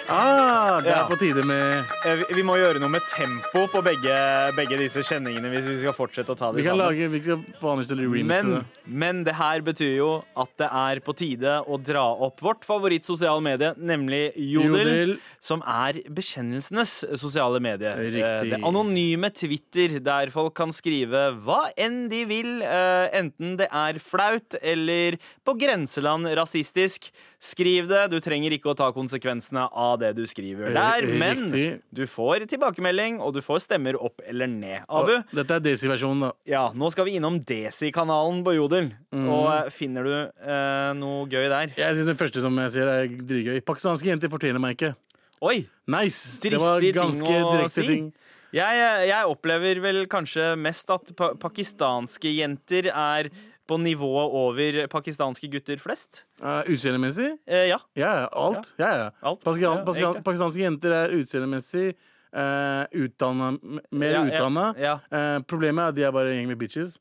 S6: Ah, det er
S3: Ja.
S6: på tide med
S3: eh, vi- Vi må gjøre noe med tempo på begge, begge disse kjenningene hvis vi skal fortsette å ta
S6: Vi
S3: det
S6: kan
S3: sammen.
S6: lage Vi skal få Anders til å remixe
S3: Men,
S6: det.
S3: men det her betyr jo at det er på tide å dra opp vårt favoritt sosiale medie, nemlig Jodel,
S6: Jodel.
S3: som er bekjennelsenes sosiale medie.
S6: Riktig.
S3: Eh, Det anonyme Twitter, der folk kan skrive hva enn de vil, eh, enten det er flaut eller på grenseland rasistisk. Skriv det, du trenger ikke å ta konsekvensene av det du skriver der,
S6: Eh,
S3: men
S6: riktig.
S3: du får tilbakemelding, og du får stemmer opp eller ned. Abu?
S6: Og Dette er Desi-versjonen, da.
S3: Ja, nå skal vi innom Desi-kanalen på Jodel.
S6: Mm.
S3: Og eh, finner du eh, noe gøy der?
S6: Jeg synes Den første som jeg ser, er dritgøy. Pakistanske jenter fortjener meg ikke.
S3: Oi!
S6: Nice!
S3: Dristig
S6: det var
S3: ting
S6: ganske
S3: å
S6: direkte
S3: si.
S6: ting.
S3: Jeg, eh, jeg opplever vel kanskje mest at pa pakistanske jenter er på nivået over pakistanske gutter flest.
S6: Eh, utseendemessig?
S3: Eh, ja.
S6: Ja, ja. Alt. Ja, ja.
S3: Alt.
S6: Pakistan,
S3: Ja,
S6: Pakistan,
S3: egentlig.
S6: pakistanske jenter er utseendemessig eh, utdanna m- Mer
S3: Ja, ja,
S6: utdanna.
S3: ja.
S6: Eh, problemet er at de er bare en gjeng med bitches.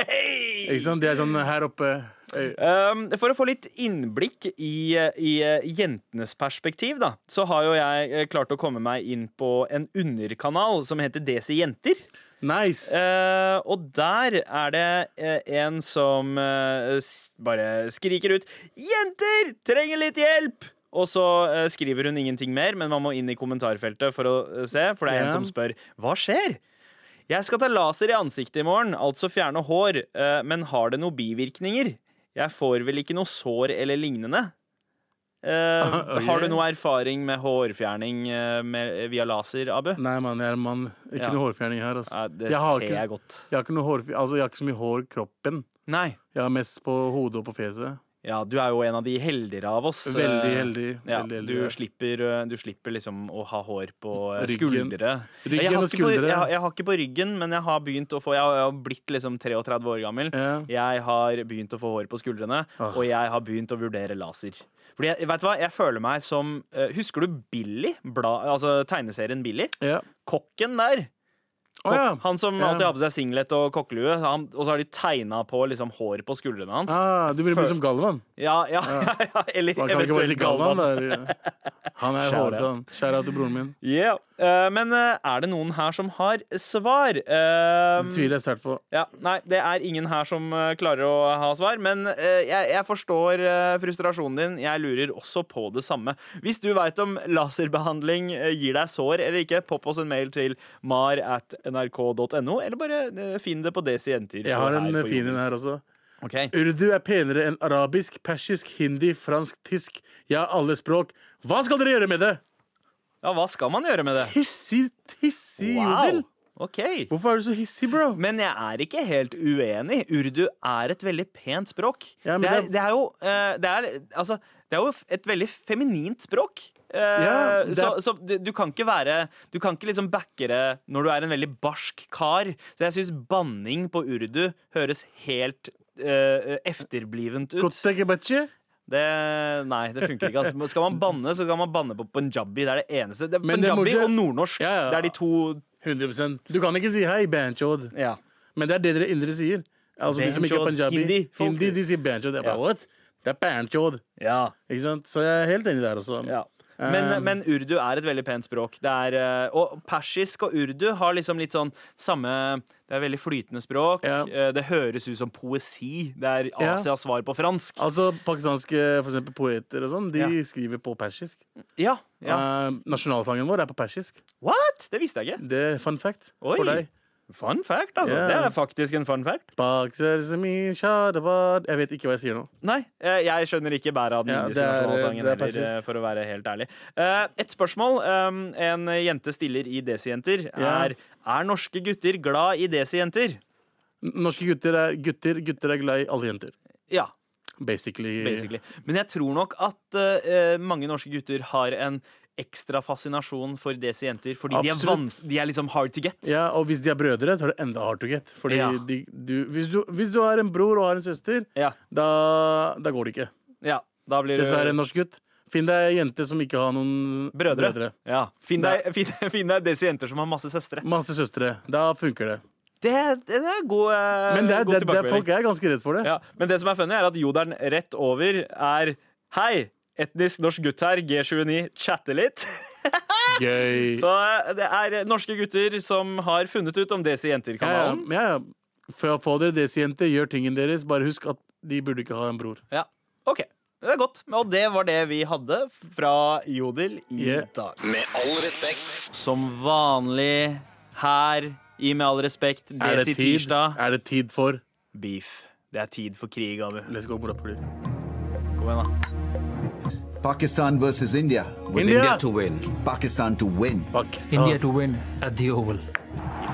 S6: Ikke sant? De er sånn her oppe eh,
S3: Um, for å få litt innblikk i, i eh, jentenes perspektiv, da, så har jo jeg eh, klart å komme meg inn på en underkanal som heter Desi Jenter.
S6: Nice!
S3: Eh, og der er det eh, en som eh, s- bare skriker ut 'Jenter! Trenger litt hjelp!' Og så eh, skriver hun ingenting mer, men man må inn i kommentarfeltet for å eh, se, for det er
S6: Ja.
S3: en som spør 'Hva skjer?' Jeg skal ta laser i ansiktet i morgen, altså fjerne hår, eh, men har det noen bivirkninger? Jeg får vel ikke noe sår eller lignende? Eh,
S6: Ok.
S3: Har du noe erfaring med hårfjerning eh, med, via laser, Abu?
S6: Nei, mann, jeg er en mann. Ikke
S3: Ja.
S6: noe hårfjerning her. Altså.
S3: Ja, det
S6: Mm. jeg, har
S3: ser
S6: ikke,
S3: jeg godt.
S6: jeg har ikke noe hårfj- altså, jeg har ikke så mye hår i kroppen.
S3: Nei.
S6: Jeg har mest på hodet og på fjeset.
S3: Ja, du er jo en av de heldigere av oss.
S6: Veldig
S3: Eh,
S6: heldig.
S3: Ja,
S6: veldig heldig
S3: du,
S6: ja.
S3: slipper, eh, du slipper liksom å ha hår på eh,
S6: Ryggen.
S3: skuldre.
S6: Ryggen
S3: jeg har
S6: og
S3: ikke på-
S6: skuldre.
S3: jeg, har- jeg har ikke på ryggen, men jeg har begynt å få Jeg har, jeg har blitt liksom 33 år gammel.
S6: Ja.
S3: Jeg har begynt å få hår på skuldrene,
S6: Ah.
S3: og jeg har begynt å vurdere laser. Fordi jeg, vet du hva, jeg føler meg som eh, Husker du Billy? Bla, altså tegneserien Billy?
S6: Ja.
S3: Kokken der.
S6: Å, ja.
S3: Han som
S6: Ja.
S3: alltid har på seg singlet og kokkelue, han- og så har de tegna på liksom, hår på skuldrene hans.
S6: Ah, du ville bli
S3: Før-
S6: som Galvan.
S3: Ja, ja, ja, ja. Eller
S6: Man kan ikke bare si
S3: eventuelt
S6: Galvan.
S3: Galvan.
S6: Der. Han er
S3: Shout
S6: hårete,
S3: out.
S6: han. Skjæra til broren min.
S3: Ja, eh, men eh, er det noen her som har svar? Eh,
S6: Det tviler jeg sterkt på.
S3: ja, nei, det er ingen her som eh, klarer å ha svar, men eh, jeg, jeg forstår eh, frustrasjonen din. Jeg lurer også på det samme. Hvis du veit om laserbehandling eh, gir deg sår eller ikke, popp oss en mail til mar at nrk.no, eller bare eh, finn det på Desi Jenter.
S6: Jeg har
S3: på-
S6: en
S3: her på
S6: fin
S3: jorden.
S6: en her også.
S3: Ok.
S6: Urdu er penere enn arabisk, persisk, hindi, fransk, tysk. Ja, alle språk. Hva skal dere gjøre med det?
S3: Ja, hva skal man gjøre med det?
S6: Hissig, hissig jodel.
S3: OK.
S6: Hvorfor er du så hissig, bro?
S3: Men jeg er ikke helt uenig. Urdu er et veldig pent språk.
S6: Ja, men
S3: det, er,
S6: det-
S3: det er jo eh, det er, altså, det er jo et veldig feminint språk. Eh,
S6: Ja, det er-
S3: Så, så du, du kan ikke være Du kan ikke liksom backe det når du er en veldig barsk kar. Så jeg syns banning på urdu høres helt eh, efterblivent ut.
S6: Kotte kebachi?
S3: Det, nei, det funker ikke. Altså. Skal man banne, så kan man banne på punjabi. Det er det eneste. Det er
S6: Men det må
S3: punjabi
S6: ikke-
S3: og nordnorsk.
S6: Ja, ja.
S3: Det er de to
S6: 100 Du kan ikke si hei, banchod.
S3: ja.
S6: Men det er det dere indre sier. Altså de som ikke er
S3: Banchod.
S6: punjabi.
S3: Hindi. Folk-
S6: Hindi de sier banchod. Jeg
S3: Ja.
S6: bare, what? Det er banchod.
S3: ja.
S6: Ikke sant? Så jeg er helt enig der også.
S3: Ja. Men,
S6: Um,
S3: men urdu er et veldig pent språk. Det er, eh, og persisk og urdu har liksom litt sånn samme Det er veldig flytende språk.
S6: Ja.
S3: Eh, Det høres ut som poesi. Det er
S6: Ja.
S3: Asias svar på fransk.
S6: Altså Pakistanske for eksempel, poeter og sånn, de
S3: Ja.
S6: skriver på persisk.
S3: Ja, ja.
S6: Eh, nasjonalsangen vår er på persisk.
S3: What?! Det visste jeg ikke.
S6: Det er fun fact
S3: Oi.
S6: for deg.
S3: Fun fact, altså.
S6: Yes.
S3: Det er faktisk en fun fact.
S6: Bakser semi shadavad Jeg vet ikke hva jeg sier nå.
S3: Nei, eh, jeg skjønner ikke bæret av den
S6: Ja,
S3: indiske
S6: det er- eh,
S3: nasjonalsangen
S6: det er
S3: heller,
S6: persisk.
S3: eh, for å være helt ærlig. Eh, Et spørsmål eh, en jente stiller i Desi-jenter,
S6: Ja.
S3: er Er norske gutter glad i Desi-jenter?
S6: N- Norske gutter er gutter. Gutter er glad i alle jenter.
S3: Ja.
S6: Basically.
S3: basically. Men jeg tror nok at eh, mange norske gutter har en ekstra fascinasjon for desi jenter, fordi de er,
S6: Absolutt.
S3: vans- de er liksom hard to get.
S6: Ja, Og hvis de er brødre, så er det enda hard to get. Fordi
S3: Ja.
S6: de, du, hvis, du, hvis du har en bror og har en søster,
S3: Ja,
S6: da, da går det ikke.
S3: ja, da blir du
S6: Dessverre, norsk gutt. Finn deg ei jente som ikke har noen
S3: brødre. Ja. Finn,
S6: Da-
S3: deg, finn, finn deg desi jenter som har masse søstre.
S6: Masse søstre. Da funker det.
S3: Det, det er god, eh,
S6: Men det er,
S3: god
S6: det, det er,
S3: tilbakemelding.
S6: folk er ganske redd for det.
S3: ja. Men det som er funny, er at jodelen rett over er Hei! Etnisk norsk gutt her, G29, chatter litt.
S6: Gøy.
S3: Så eh, det er norske gutter som har funnet ut om Desi
S6: ja,
S3: Jenter-kanalen.
S6: ja, ja. For å få dere desijenter, gjør tingen deres. Bare husk at de burde ikke ha en bror.
S3: Ja, ok. Det er godt. Og det var det vi hadde fra Jodel i
S6: Yeah.
S3: dag.
S1: Med all respekt.
S3: Som vanlig her i Med all respekt,
S6: Er
S3: Desi
S6: det tid,
S3: Tirsdag,
S6: er det tid for
S3: beef. Det er tid for krig, Abu.
S6: Let's go, morapuler.
S3: Kom igjen, da.
S7: Pakistan versus India.
S6: India! India,
S8: to win.
S7: Pakistan to win.
S6: Pakistan.
S8: India to win at the Oval.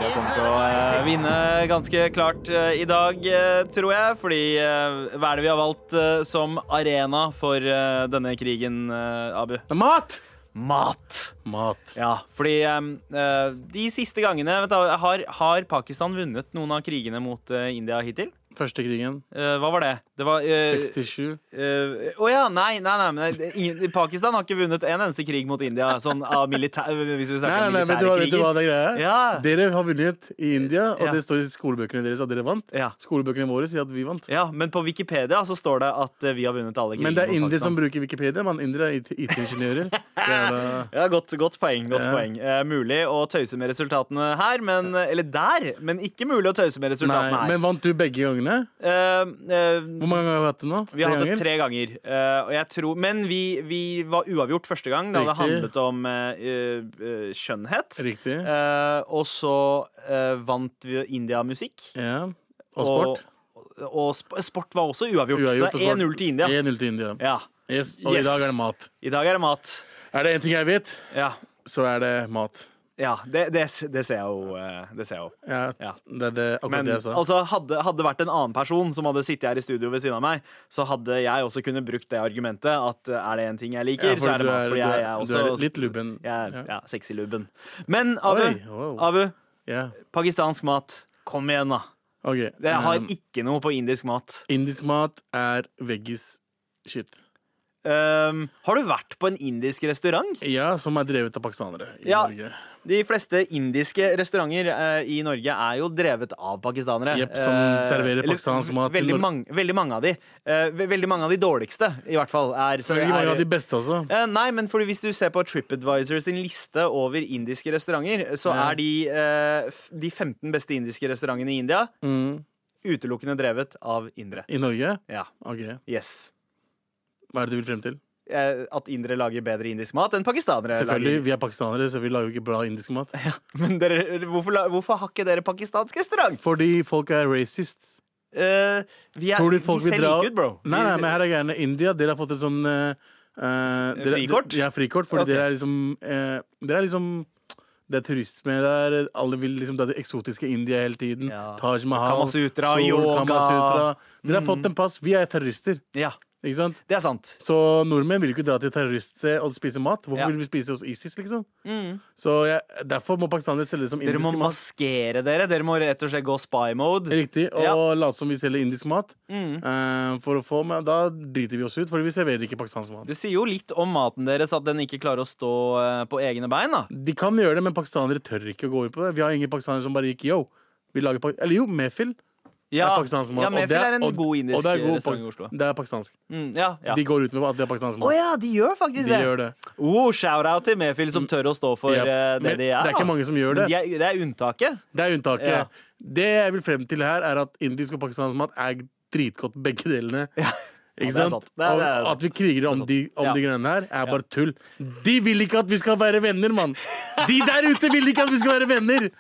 S3: Jeg kommer til å eh, vinne ganske klart eh, i dag, eh, tror jeg. Fordi eh, hva er det vi har valgt eh, som arena for eh, denne krigen, eh, Abu?
S6: Mat!
S3: mat.
S6: Mat.
S3: Ja, fordi em, eh, de siste gangene vet du, har, har Pakistan vunnet noen av krigene mot eh, India hittil?
S6: Første krigen.
S3: Eh, hva var det? Det var eh,
S6: 67.
S3: eh, Å ja, nei, nei, nei, men det- ingen, Pakistan har ikke vunnet en eneste krig mot India. Sånn av militær, hvis vi
S6: Nei,
S3: snakker
S6: nei,
S3: om
S6: nei, vet du hva,
S3: militære
S6: vet du hva
S3: kriger.
S6: det greia er?
S3: Ja.
S6: Dere har vunnet i India, og
S3: Ja.
S6: det står i skolebøkene deres at dere vant.
S3: Ja.
S6: Skolebøkene våre sier at vi vant.
S3: Ja, men på Wikipedia så står det at eh, vi har vunnet alle krigene.
S6: Men det er
S3: mot
S6: indere som
S3: Pakistan.
S6: bruker Wikipedia. Man indere er IT- IT-ingeniører. Jævla-
S3: ja, godt, godt poeng. godt
S6: Ja.
S3: poeng eh, Mulig å tøyse med resultatene her, men, eller der, men ikke mulig å tøyse med
S6: Nei,
S3: resultatene her.
S6: men vant du begge gangene?
S3: Eh, eh,
S6: Hvor mange ganger har vi hatt det nå?
S3: Vi har
S6: Tre
S3: hatt det
S6: ganger?
S3: tre ganger. eh, og jeg tror, men vi, vi var uavgjort første gang. Da det
S6: Riktig.
S3: handlet om eh, eh, skjønnhet.
S6: Riktig.
S3: Eh, og så eh, vant vi India-musikk.
S6: Ja. Og sport.
S3: Og, og sp sport var også uavgjort.
S6: Uavgjort
S3: så
S6: på
S3: det er
S6: sport.
S3: 1-0 til India.
S6: 1-0 til India.
S3: Ja.
S6: Yes. Og
S3: Yes.
S6: i dag er det mat.
S3: I dag er det mat.
S6: Er det én ting jeg vet,
S3: Ja.
S6: så er det mat.
S3: ja det, det, det ser jeg jo. eh, Det ser jeg jo.
S6: Ja,
S3: Ja.
S6: Det er det, akkurat
S3: Men
S6: det jeg sa.
S3: altså, hadde, hadde det vært en annen person som hadde sittet her i studio ved siden av meg, så hadde jeg også kunnet brukt det argumentet at eh, er det en ting jeg liker,
S6: Ja, fordi
S3: så er det
S6: du
S3: mat.
S6: er-
S3: Fordi
S6: du er-
S3: jeg er
S6: du
S3: også
S6: er litt lubben.
S3: Jeg
S6: Ja.
S3: er ja, sexy-lubben. Men Abu,
S6: Oi, wow.
S3: Abu,
S6: Ja.
S3: pakistansk mat. Kom igjen, da.
S6: Ok,
S3: Det har
S6: um,
S3: ikke noe på indisk mat.
S6: Indisk mat er veggis shit.
S3: Um, har du vært på en indisk restaurant?
S6: Ja, som er drevet av pakistanere i
S3: Ja.
S6: Norge.
S3: De fleste indiske restauranter eh, i Norge er jo drevet av pakistanere.
S6: Jepp, som
S3: Eh,
S6: serverer
S3: eller
S6: pakistansk mat til
S3: Veldig,
S6: Nor-
S3: mange, veldig mange av de. Eh, ve- veldig mange av de dårligste, i hvert fall. Er,
S6: Veldig mange
S3: er-
S6: av de beste også.
S3: Eh, nei, men fordi hvis du ser på TripAdvisor sin liste over indiske restauranter, så
S6: Ja.
S3: er de eh, f- de 15 beste indiske restaurantene i India
S6: Mm.
S3: utelukkende drevet av indere.
S6: I Norge?
S3: Ja,
S6: Ok,
S3: yes.
S6: Hva er det du vil frem til?
S3: Eh, At indere lager bedre indisk mat enn pakistanere.
S6: Selvfølgelig, Vi er pakistanere, så vi lager jo ikke bra indisk mat.
S3: Lager. Men dere, hvorfor, la- hvorfor har ikke dere pakistansk restaurant?
S6: Fordi folk er racist.
S3: Eh, vi er,
S6: Tror du folk
S3: vi
S6: vil
S3: ser
S6: dra
S3: like ut, bro.
S6: Nei, nei, men her er greiene. India, dere har fått et sånn eh, eh, dere-
S3: Frikort?
S6: Ja, frikort. Fordi
S3: Ok.
S6: dere er liksom eh, Dere er liksom det er turisme der. Alle vil liksom det, er det eksotiske India hele tiden.
S3: Ja.
S6: Taj Mahal.
S3: Kamasutra, yoga. Mm.
S6: Kamasutra. Dere har fått en pass. Vi er terrorister.
S3: Ja,
S6: Ikke sant?
S3: det er sant.
S6: Så nordmenn vil jo ikke dra til terroriststed og spise mat. Hvorfor
S3: Ja. Mm.
S6: vil vi spise hos ISIS, liksom? Så jeg, Derfor må pakistanere selge det som
S3: Dere må
S6: indisk mat.
S3: maskere dere. Dere må rett og slett gå spy mode.
S6: Riktig. Og
S3: Ja. Mm.
S6: late som vi selger indisk mat. eh, for å få, men da driter vi oss ut, fordi vi serverer ikke pakistansk mat.
S3: Det sier jo litt om maten deres at den ikke klarer å stå eh, på egne bein. da
S6: De kan gjøre det, men pakistanere tør ikke å gå inn på det. Vi har ingen pakistanere som bare gikk yo. Vi lager pak Eller jo, Mefil
S3: Ja,
S6: er pakistansk mat.
S3: ja
S6: og
S3: Mefil
S6: det
S3: er en
S6: og-
S3: god
S6: og
S3: indisk
S6: det er god
S3: restaurant i
S6: pak-
S3: Oslo.
S6: Det er pakistansk.
S3: Mm, ja, ja.
S6: De går ut med at det er
S3: Å
S6: pakistansk mat.
S3: ja, de gjør faktisk
S6: De
S3: det.
S6: gjør det.
S3: Oh, Shout-out til Mefil som tør å stå for
S6: Japp.
S3: eh, det
S6: Men
S3: de er.
S6: det er ikke
S3: da.
S6: mange som gjør
S3: Men
S6: det.
S3: De er, det er unntaket.
S6: Det er unntaket.
S3: Ja.
S6: Det jeg vil frem til her, er at indisk og pakistansk mat er dritgodt begge delene. Ikke
S3: Ja, det er
S6: sant?
S3: sant. Det er- det er
S6: og at vi kriger om,
S3: sant.
S6: de, om
S3: Ja.
S6: de greiene her, er bare tull. De vil ikke at vi skal være venner, mann! De der ute vil ikke at vi skal være venner!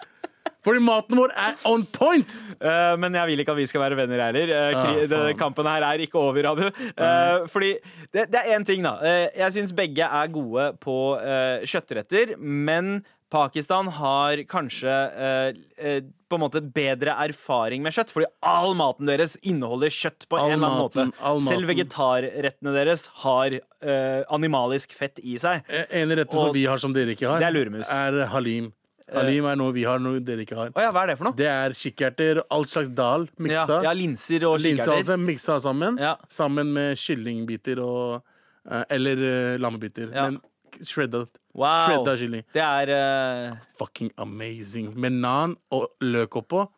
S6: Fordi maten vår er on point!
S3: Eh, men jeg vil ikke at vi skal være venner heller. Eh, kri-
S6: Ah,
S3: det,
S6: faen.
S3: kampen her er ikke over, Abu. Eh, fordi det, det er én ting, da. Eh, jeg syns begge er gode på eh, kjøttretter, men Pakistan har kanskje eh, eh, på en måte bedre erfaring med kjøtt, fordi all maten deres inneholder kjøtt på
S6: All
S3: en eller annen
S6: maten, all
S3: måte. Selv
S6: maten.
S3: vegetarrettene deres har eh, animalisk fett i seg.
S6: En rett
S3: Og-
S6: som vi har som dere ikke har,
S3: Det er luremus.
S6: er halim. Halim er noe vi har, noe dere ikke har.
S3: Å ja, hva er det for noe?
S6: Det er kikkerter, all slags dal
S3: ja,
S6: miksa.
S3: ja, linser og
S6: Linsehalse
S3: kikkerter.
S6: sånn miksa sammen,
S3: Ja.
S6: sammen med kyllingbiter og eh, Eller eh, lammebiter.
S3: Ja.
S6: Men k- shredda,
S3: Wow.
S6: shredda kylling.
S3: Det er eh,
S6: Fucking amazing. Med nan og løk oppå.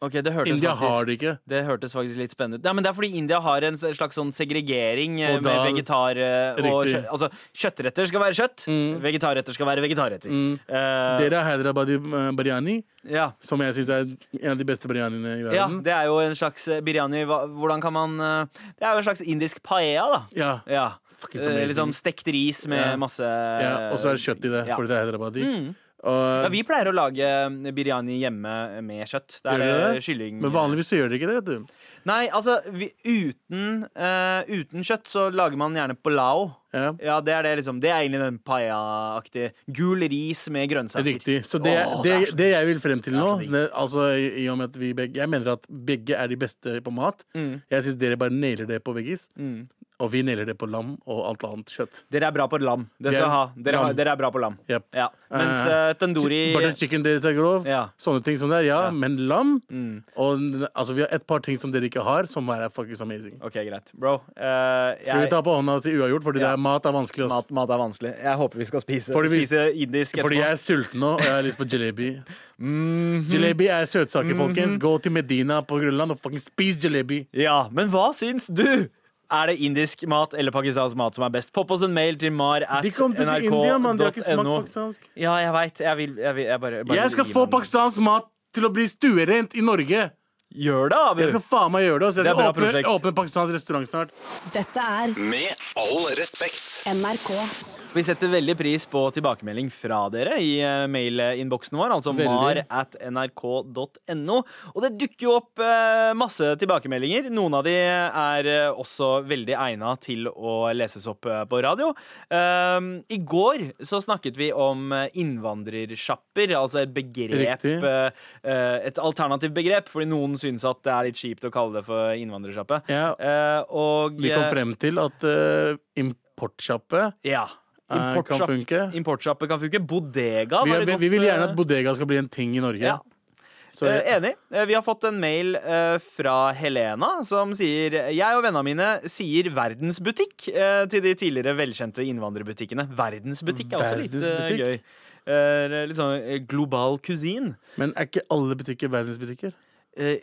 S3: OK, det hørtes
S6: India
S3: faktisk
S6: har det ikke.
S3: Det hørtes faktisk litt spennende ut. Ja, men Det er fordi India har en slags sånn segregering eh,
S6: Og
S3: med
S6: da-
S3: vegetar eh, og
S6: Riktig. Mm.
S3: kjøtt. Altså, kjøttretter skal være kjøtt, vegetarretter skal være vegetarretter. Eh,
S6: Dere har Hyderabadi eh, biryani,
S3: ja.
S6: som jeg syns er en av de beste biryaniene i
S3: ja,
S6: verden.
S3: det er jo en slags eh, biryani hva- Hvordan kan man eh, Det er jo en slags indisk paella, da.
S6: Ja.
S3: Ja.
S6: Fucking så
S3: Eh,
S6: amazing.
S3: Liksom stekt ris med
S6: Ja.
S3: masse
S6: ja. Og så er det kjøtt i det,
S3: Eh, Ja. Mm.
S6: fordi det er Hyderabadi.
S3: Ja,
S6: Og,
S3: vi pleier å lage eh, biryani hjemme med kjøtt. Det
S6: Gjør
S3: er
S6: dere
S3: det
S6: det?
S3: kylling
S6: men vanligvis så gjør dere ikke det, vet du.
S3: Nei, altså vi, uten, eh, uten kjøtt så lager man gjerne polao.
S6: Ja.
S3: Ja, det er det liksom. Det er egentlig den paella-aktige. Gul ris med grønnsaker.
S6: Riktig. Så det,
S3: Åh,
S6: det,
S3: det er
S6: det,
S3: så
S6: jeg vil frem til
S3: Det er
S6: nå
S3: så digg.
S6: det, altså, i, i og
S3: Mm.
S6: med at vi begge, Jeg mener at begge er de beste på mat. Jeg syns dere bare nailer det på veggis. Og vi nailer det på lam og alt annet kjøtt.
S3: Dere er bra på lam. Det skal
S6: Dere-
S3: jeg ha. Dere, har,
S6: lam.
S3: dere er bra på lam.
S6: Yep.
S3: Ja. Mens
S6: Eh,
S3: eh, tandoori
S6: Chi- Butter chicken deres er grov.
S3: Ja. Mm.
S6: Sånne ting som det er. Ja, men lam Og n- altså, vi har et par ting som dere ikke har, som er faktisk amazing.
S3: OK, greit. Bro, eh,
S6: Skal vi
S3: jeg,
S6: ta på hånda og si uavgjort, fordi
S3: Ja.
S6: det er mat er vanskelig.
S3: mat,
S6: Ass.
S3: mat er vanskelig. Jeg håper vi skal spise,
S6: Fordi vi-
S3: spise indisk
S6: Fordi jeg er sulten nå, og jeg har lyst på jalebi.
S3: Mhm.
S6: Jalebi er søtsaker, folkens. Gå til Medina på Grønland og fucking spis jalebi.
S3: Ja, men hva syns du? Er det indisk mat eller pakistansk mat som er best? Popp oss en mail til mar at
S6: De kom til å si India, mann. De har ikke smakt
S3: nrk.no.
S6: pakistansk.
S3: Ja, jeg veit. Jeg vil, jeg vil jeg bare, bare
S6: Jeg skal
S3: vil gi
S6: få
S3: meg.
S6: pakistansk mat til å bli stuerent i Norge.
S3: Gjør det, Abu!
S6: Jeg skal faen meg gjøre det. ass.
S3: Det
S6: Jeg
S3: er
S6: skal
S3: bra
S6: åpne,
S3: prosjekt.
S6: åpne pakistansk restaurant snart.
S5: Dette er
S1: Med all respekt.
S5: NRK.
S3: Vi setter veldig pris på tilbakemelding fra dere i eh, mailinnboksen vår, altså
S6: Veldig.
S3: mar at nrk.no. Og det dukker jo opp eh, masse tilbakemeldinger. Noen av de er eh, også veldig egna til å leses opp eh, på radio. Um, I går så snakket vi om eh, innvandrersjapper, altså et begrep
S6: Riktig.
S3: eh, eh, Et alternativt begrep, fordi noen syns at det er litt kjipt å kalle det for innvandrersjappe.
S6: Ja.
S3: Eh, og
S6: Vi kom frem til at uh, importsjappe
S3: ja.
S6: eh, kan
S3: Importsjapp-
S6: funke.
S3: Importsjappe kan funke. Bodega
S6: Vi,
S3: var et
S6: vi,
S3: godt,
S6: vi vil gjerne at
S3: eh,
S6: bodega skal bli en ting i Norge.
S3: Ja.
S6: Så
S3: eh, Enig. Eh, Vi har fått en mail eh, fra Helena som sier Jeg og vennene mine sier verdensbutikk eh, til de tidligere velkjente innvandrerbutikkene. Verdensbutikk er også litt eh,
S6: Verdensbutikk?
S3: gøy. Eh, Litt sånn eh, global kusin.
S6: Men er ikke alle butikker verdensbutikker?
S3: Eh,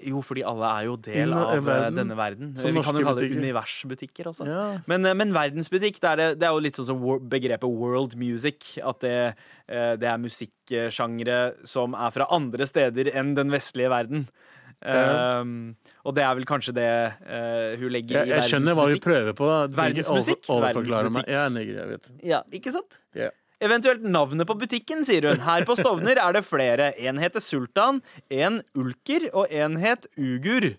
S3: Jo, fordi alle er jo del
S6: Inn-
S3: av eh,
S6: verden.
S3: denne verden.
S6: Som
S3: Eh, Vi kan
S6: norske
S3: jo kalle det
S6: butikker.
S3: universbutikker også.
S6: Ja.
S3: Men, eh, men verdensbutikk, det er, det- det er jo litt sånn som wor- begrepet world music. At det, eh, det er musikksjangre som er fra andre steder enn den vestlige verden.
S6: Ja.
S3: Um, og det er vel kanskje det eh, hun legger
S6: Jeg,
S3: i
S6: jeg skjønner hva vi
S3: verdensbutikk.
S6: prøver på. da Du trenger ikke
S3: Verdensmusikk?
S6: Over, overforklare meg.
S3: Verdensbutikk.
S6: Jeg er neger, jeg vet.
S3: Ja, ikke sant?
S6: Ja.
S3: Eventuelt navnet på butikken, sier hun. Her på Stovner er det flere. En heter Sultan, en Ulker og en het Ugur.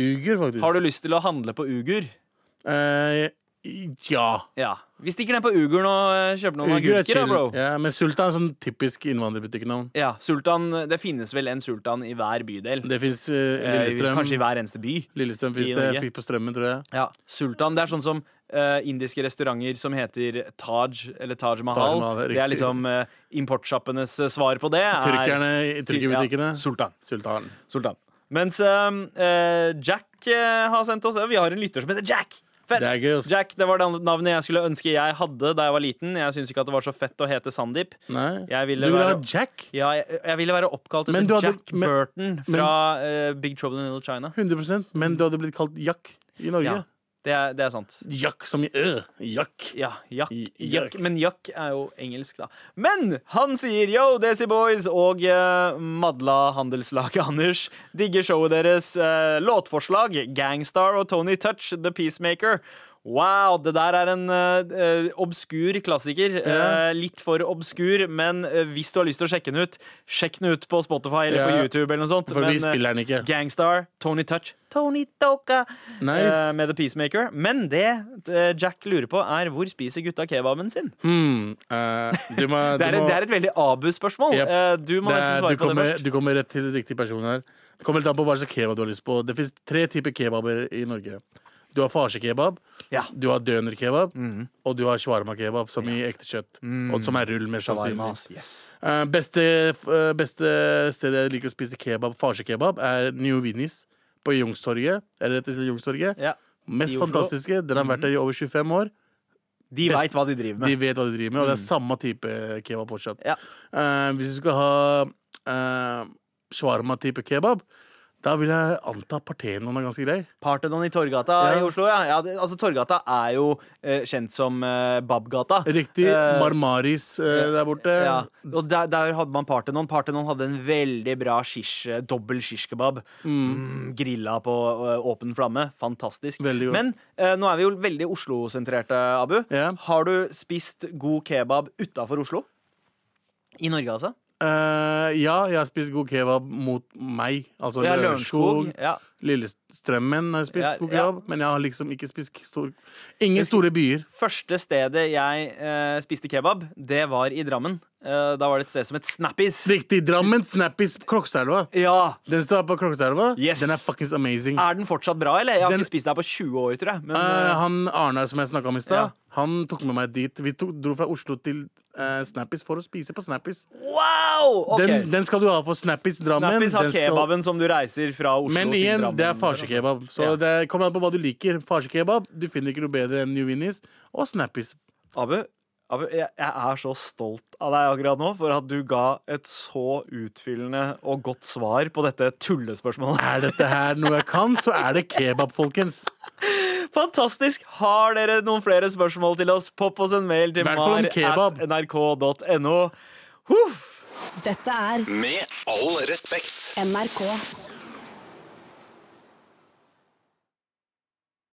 S6: Uger, faktisk.
S3: Har du lyst til å handle på Ugur?
S6: Eh, ja.
S3: Ja. Vi stikker ned på Uguren og eh, kjøper noen
S6: Uger er
S3: agurker, da,
S6: chill.
S3: bro. Ja.
S6: Ja, men Sultan er sånn typisk innvandrerbutikknavn.
S3: sultan, Det finnes vel en sultan i hver bydel.
S6: Det fins
S3: Eh,
S6: Lillestrøm.
S3: Kanskje i hver eneste by.
S6: Lillestrøm
S3: i
S6: fins det.
S3: Norge.
S6: Jeg fikk på Strømmen, tror jeg.
S3: Ja, Sultan. Det er sånn som eh, indiske restauranter som heter Taj eller Taj Mahal.
S6: Taj Mahal,
S3: det,
S6: riktig.
S3: er liksom eh, importsjappenes eh, svar på det. er-
S6: Tyrkerne i tyrkerbutikkene.
S3: Ja, sultan.
S6: Sultan.
S3: sultan. Mens ehm, eh, Jack eh, har sendt oss Vi har en lytter som heter Jack. Fett.
S6: Det er gøy, altså. ass.
S3: Jack, det var det navnet jeg skulle ønske jeg hadde da jeg var liten. Jeg syns ikke at det var så fett å hete Sandeep.
S6: Nei.
S3: Jeg ville
S6: du vil ha
S3: være-
S6: Jack?
S3: Ja, jeg, jeg ville være oppkalt
S6: Men
S3: etter
S6: du hadde-
S3: Jack
S6: men-
S3: Burton fra eh, Big Trouble in Little China.
S6: 100 Men du hadde blitt kalt Jack i Norge.
S3: Ja, det er, det er sant.
S6: Jack som i ø. Jack.
S3: Ja, Jack,
S6: I-
S3: Jack.
S6: Jack.
S3: Men Jack er jo engelsk, da. Men han sier yo, Desi Boys og eh, Madla Handelslaget Anders. Digger showet deres. eh, låtforslag Gangstar og Tony Touch, The Peacemaker. Wow, det der er en eh, eh, obskur klassiker. Eh, litt for obskur, men eh, hvis du har lyst til å sjekke den ut, sjekk den ut på Spotify eller på
S6: Ja,
S3: YouTube. eller noe sånt
S6: for vi
S3: men, eh,
S6: spiller den ikke.
S3: Gangstar, Tony Touch, Tony Toka
S6: Nice.
S3: eh, med The Peacemaker. Men det eh, Jack lurer på, er hvor spiser gutta kebaben sin?
S6: Hmm. eh, du må,
S3: Det er,
S6: du må,
S3: det er et veldig Abu-spørsmål.
S6: Yep.
S3: Eh, Du må
S6: det er-
S3: nesten
S6: du
S3: svare på
S6: kommer,
S3: det først.
S6: Du kommer rett til riktig person her. Det kommer litt an på hva slags kebab du har lyst på. Det fins tre typer kebaber i Norge. Du har farsekebab,
S3: Ja.
S6: du har dønerkebab, og du har shawarma-kebab, som i ekte kjøtt. Og som er rull, mest
S3: Shawarma,
S6: sannsynlig.
S3: ass. Yes.
S6: Eh, beste, eh, beste stedet jeg liker å spise kebab, farsekebab, er New Vinis på Youngstorget. Eller rett og slett Youngstorget.
S3: Ja. i
S6: Mest
S3: Oslo.
S6: fantastiske. Den har vært der i over 25 år.
S3: De
S6: Best-
S3: veit hva de driver
S6: De
S3: med.
S6: vet hva de driver med, og det er samme type kebab fortsatt.
S3: Ja.
S6: Eh, hvis du skal ha uh, shawarma-type kebab, da vil jeg anta Partenon er ganske grei.
S3: Partenon i Torgata
S6: Ja.
S3: i Oslo, ja. ja det, altså, Torgata er jo eh, kjent som eh, Babgata.
S6: Riktig.
S3: Eh,
S6: Marmaris eh, der borte.
S3: Ja,
S6: Eh,
S3: og der, der hadde man Partenon. Partenon hadde en veldig bra shish, eh, dobbel shishkebab. Mm, grilla på eh, åpen flamme. Fantastisk.
S6: Veldig godt.
S3: Men eh, nå er vi jo veldig Oslo-sentrerte, Abu.
S6: Ja.
S3: Har du spist god kebab utafor Oslo? I Norge, altså?
S6: Eh, ja, jeg har spist god kebab mot meg. Altså
S3: Ja,
S6: Lørenskog,
S3: Lørenskog. Ja.
S6: Lillestrømmen har jeg spist
S3: Ja,
S6: skokebabb, men jeg har liksom ikke spist stor Ingen store byer.
S3: Første stedet jeg eh, spiste kebab, det var i Drammen. Eh, da var det et sted som het Snappis.
S6: Riktig. Drammen, Snappis, Krokselva.
S3: Ja!
S6: Den som er på Krokselva,
S3: Yes.
S6: den er fuckings amazing.
S3: Er den fortsatt bra, eller? Jeg har
S6: Den-
S3: ikke spist der på 20 år, tror jeg. Men,
S6: Eh, han Arnar som jeg snakka om i stad,
S3: Ja.
S6: han tok med meg dit. Vi tok, dro fra Oslo til eh, Snappis for å spise på Snappis.
S3: eh, wow! Ok.
S6: Den, den skal du ha på Snappis Drammen.
S3: Snappis har
S6: Den skal-
S3: kebaben som du reiser fra Oslo
S6: Men
S3: til
S6: igjen,
S3: Drammen.
S6: det er farsekebab. Så
S3: Ja.
S6: det kommer an på hva du liker. Farsekebab, du finner ikke noe bedre enn New Winnies og Snappis.
S3: Abu, Abu jeg, jeg er så stolt av deg akkurat nå for at du ga et så utfyllende og godt svar på dette tullespørsmålet.
S6: Er dette her noe jeg kan, så er det kebab, folkens.
S3: Fantastisk! Har dere noen flere spørsmål til oss, popp oss en mail til
S6: Hvert fall om
S3: mar
S6: kebab.
S3: at nrk.no. Huff!
S5: Dette er
S1: Med all respekt.
S5: NRK.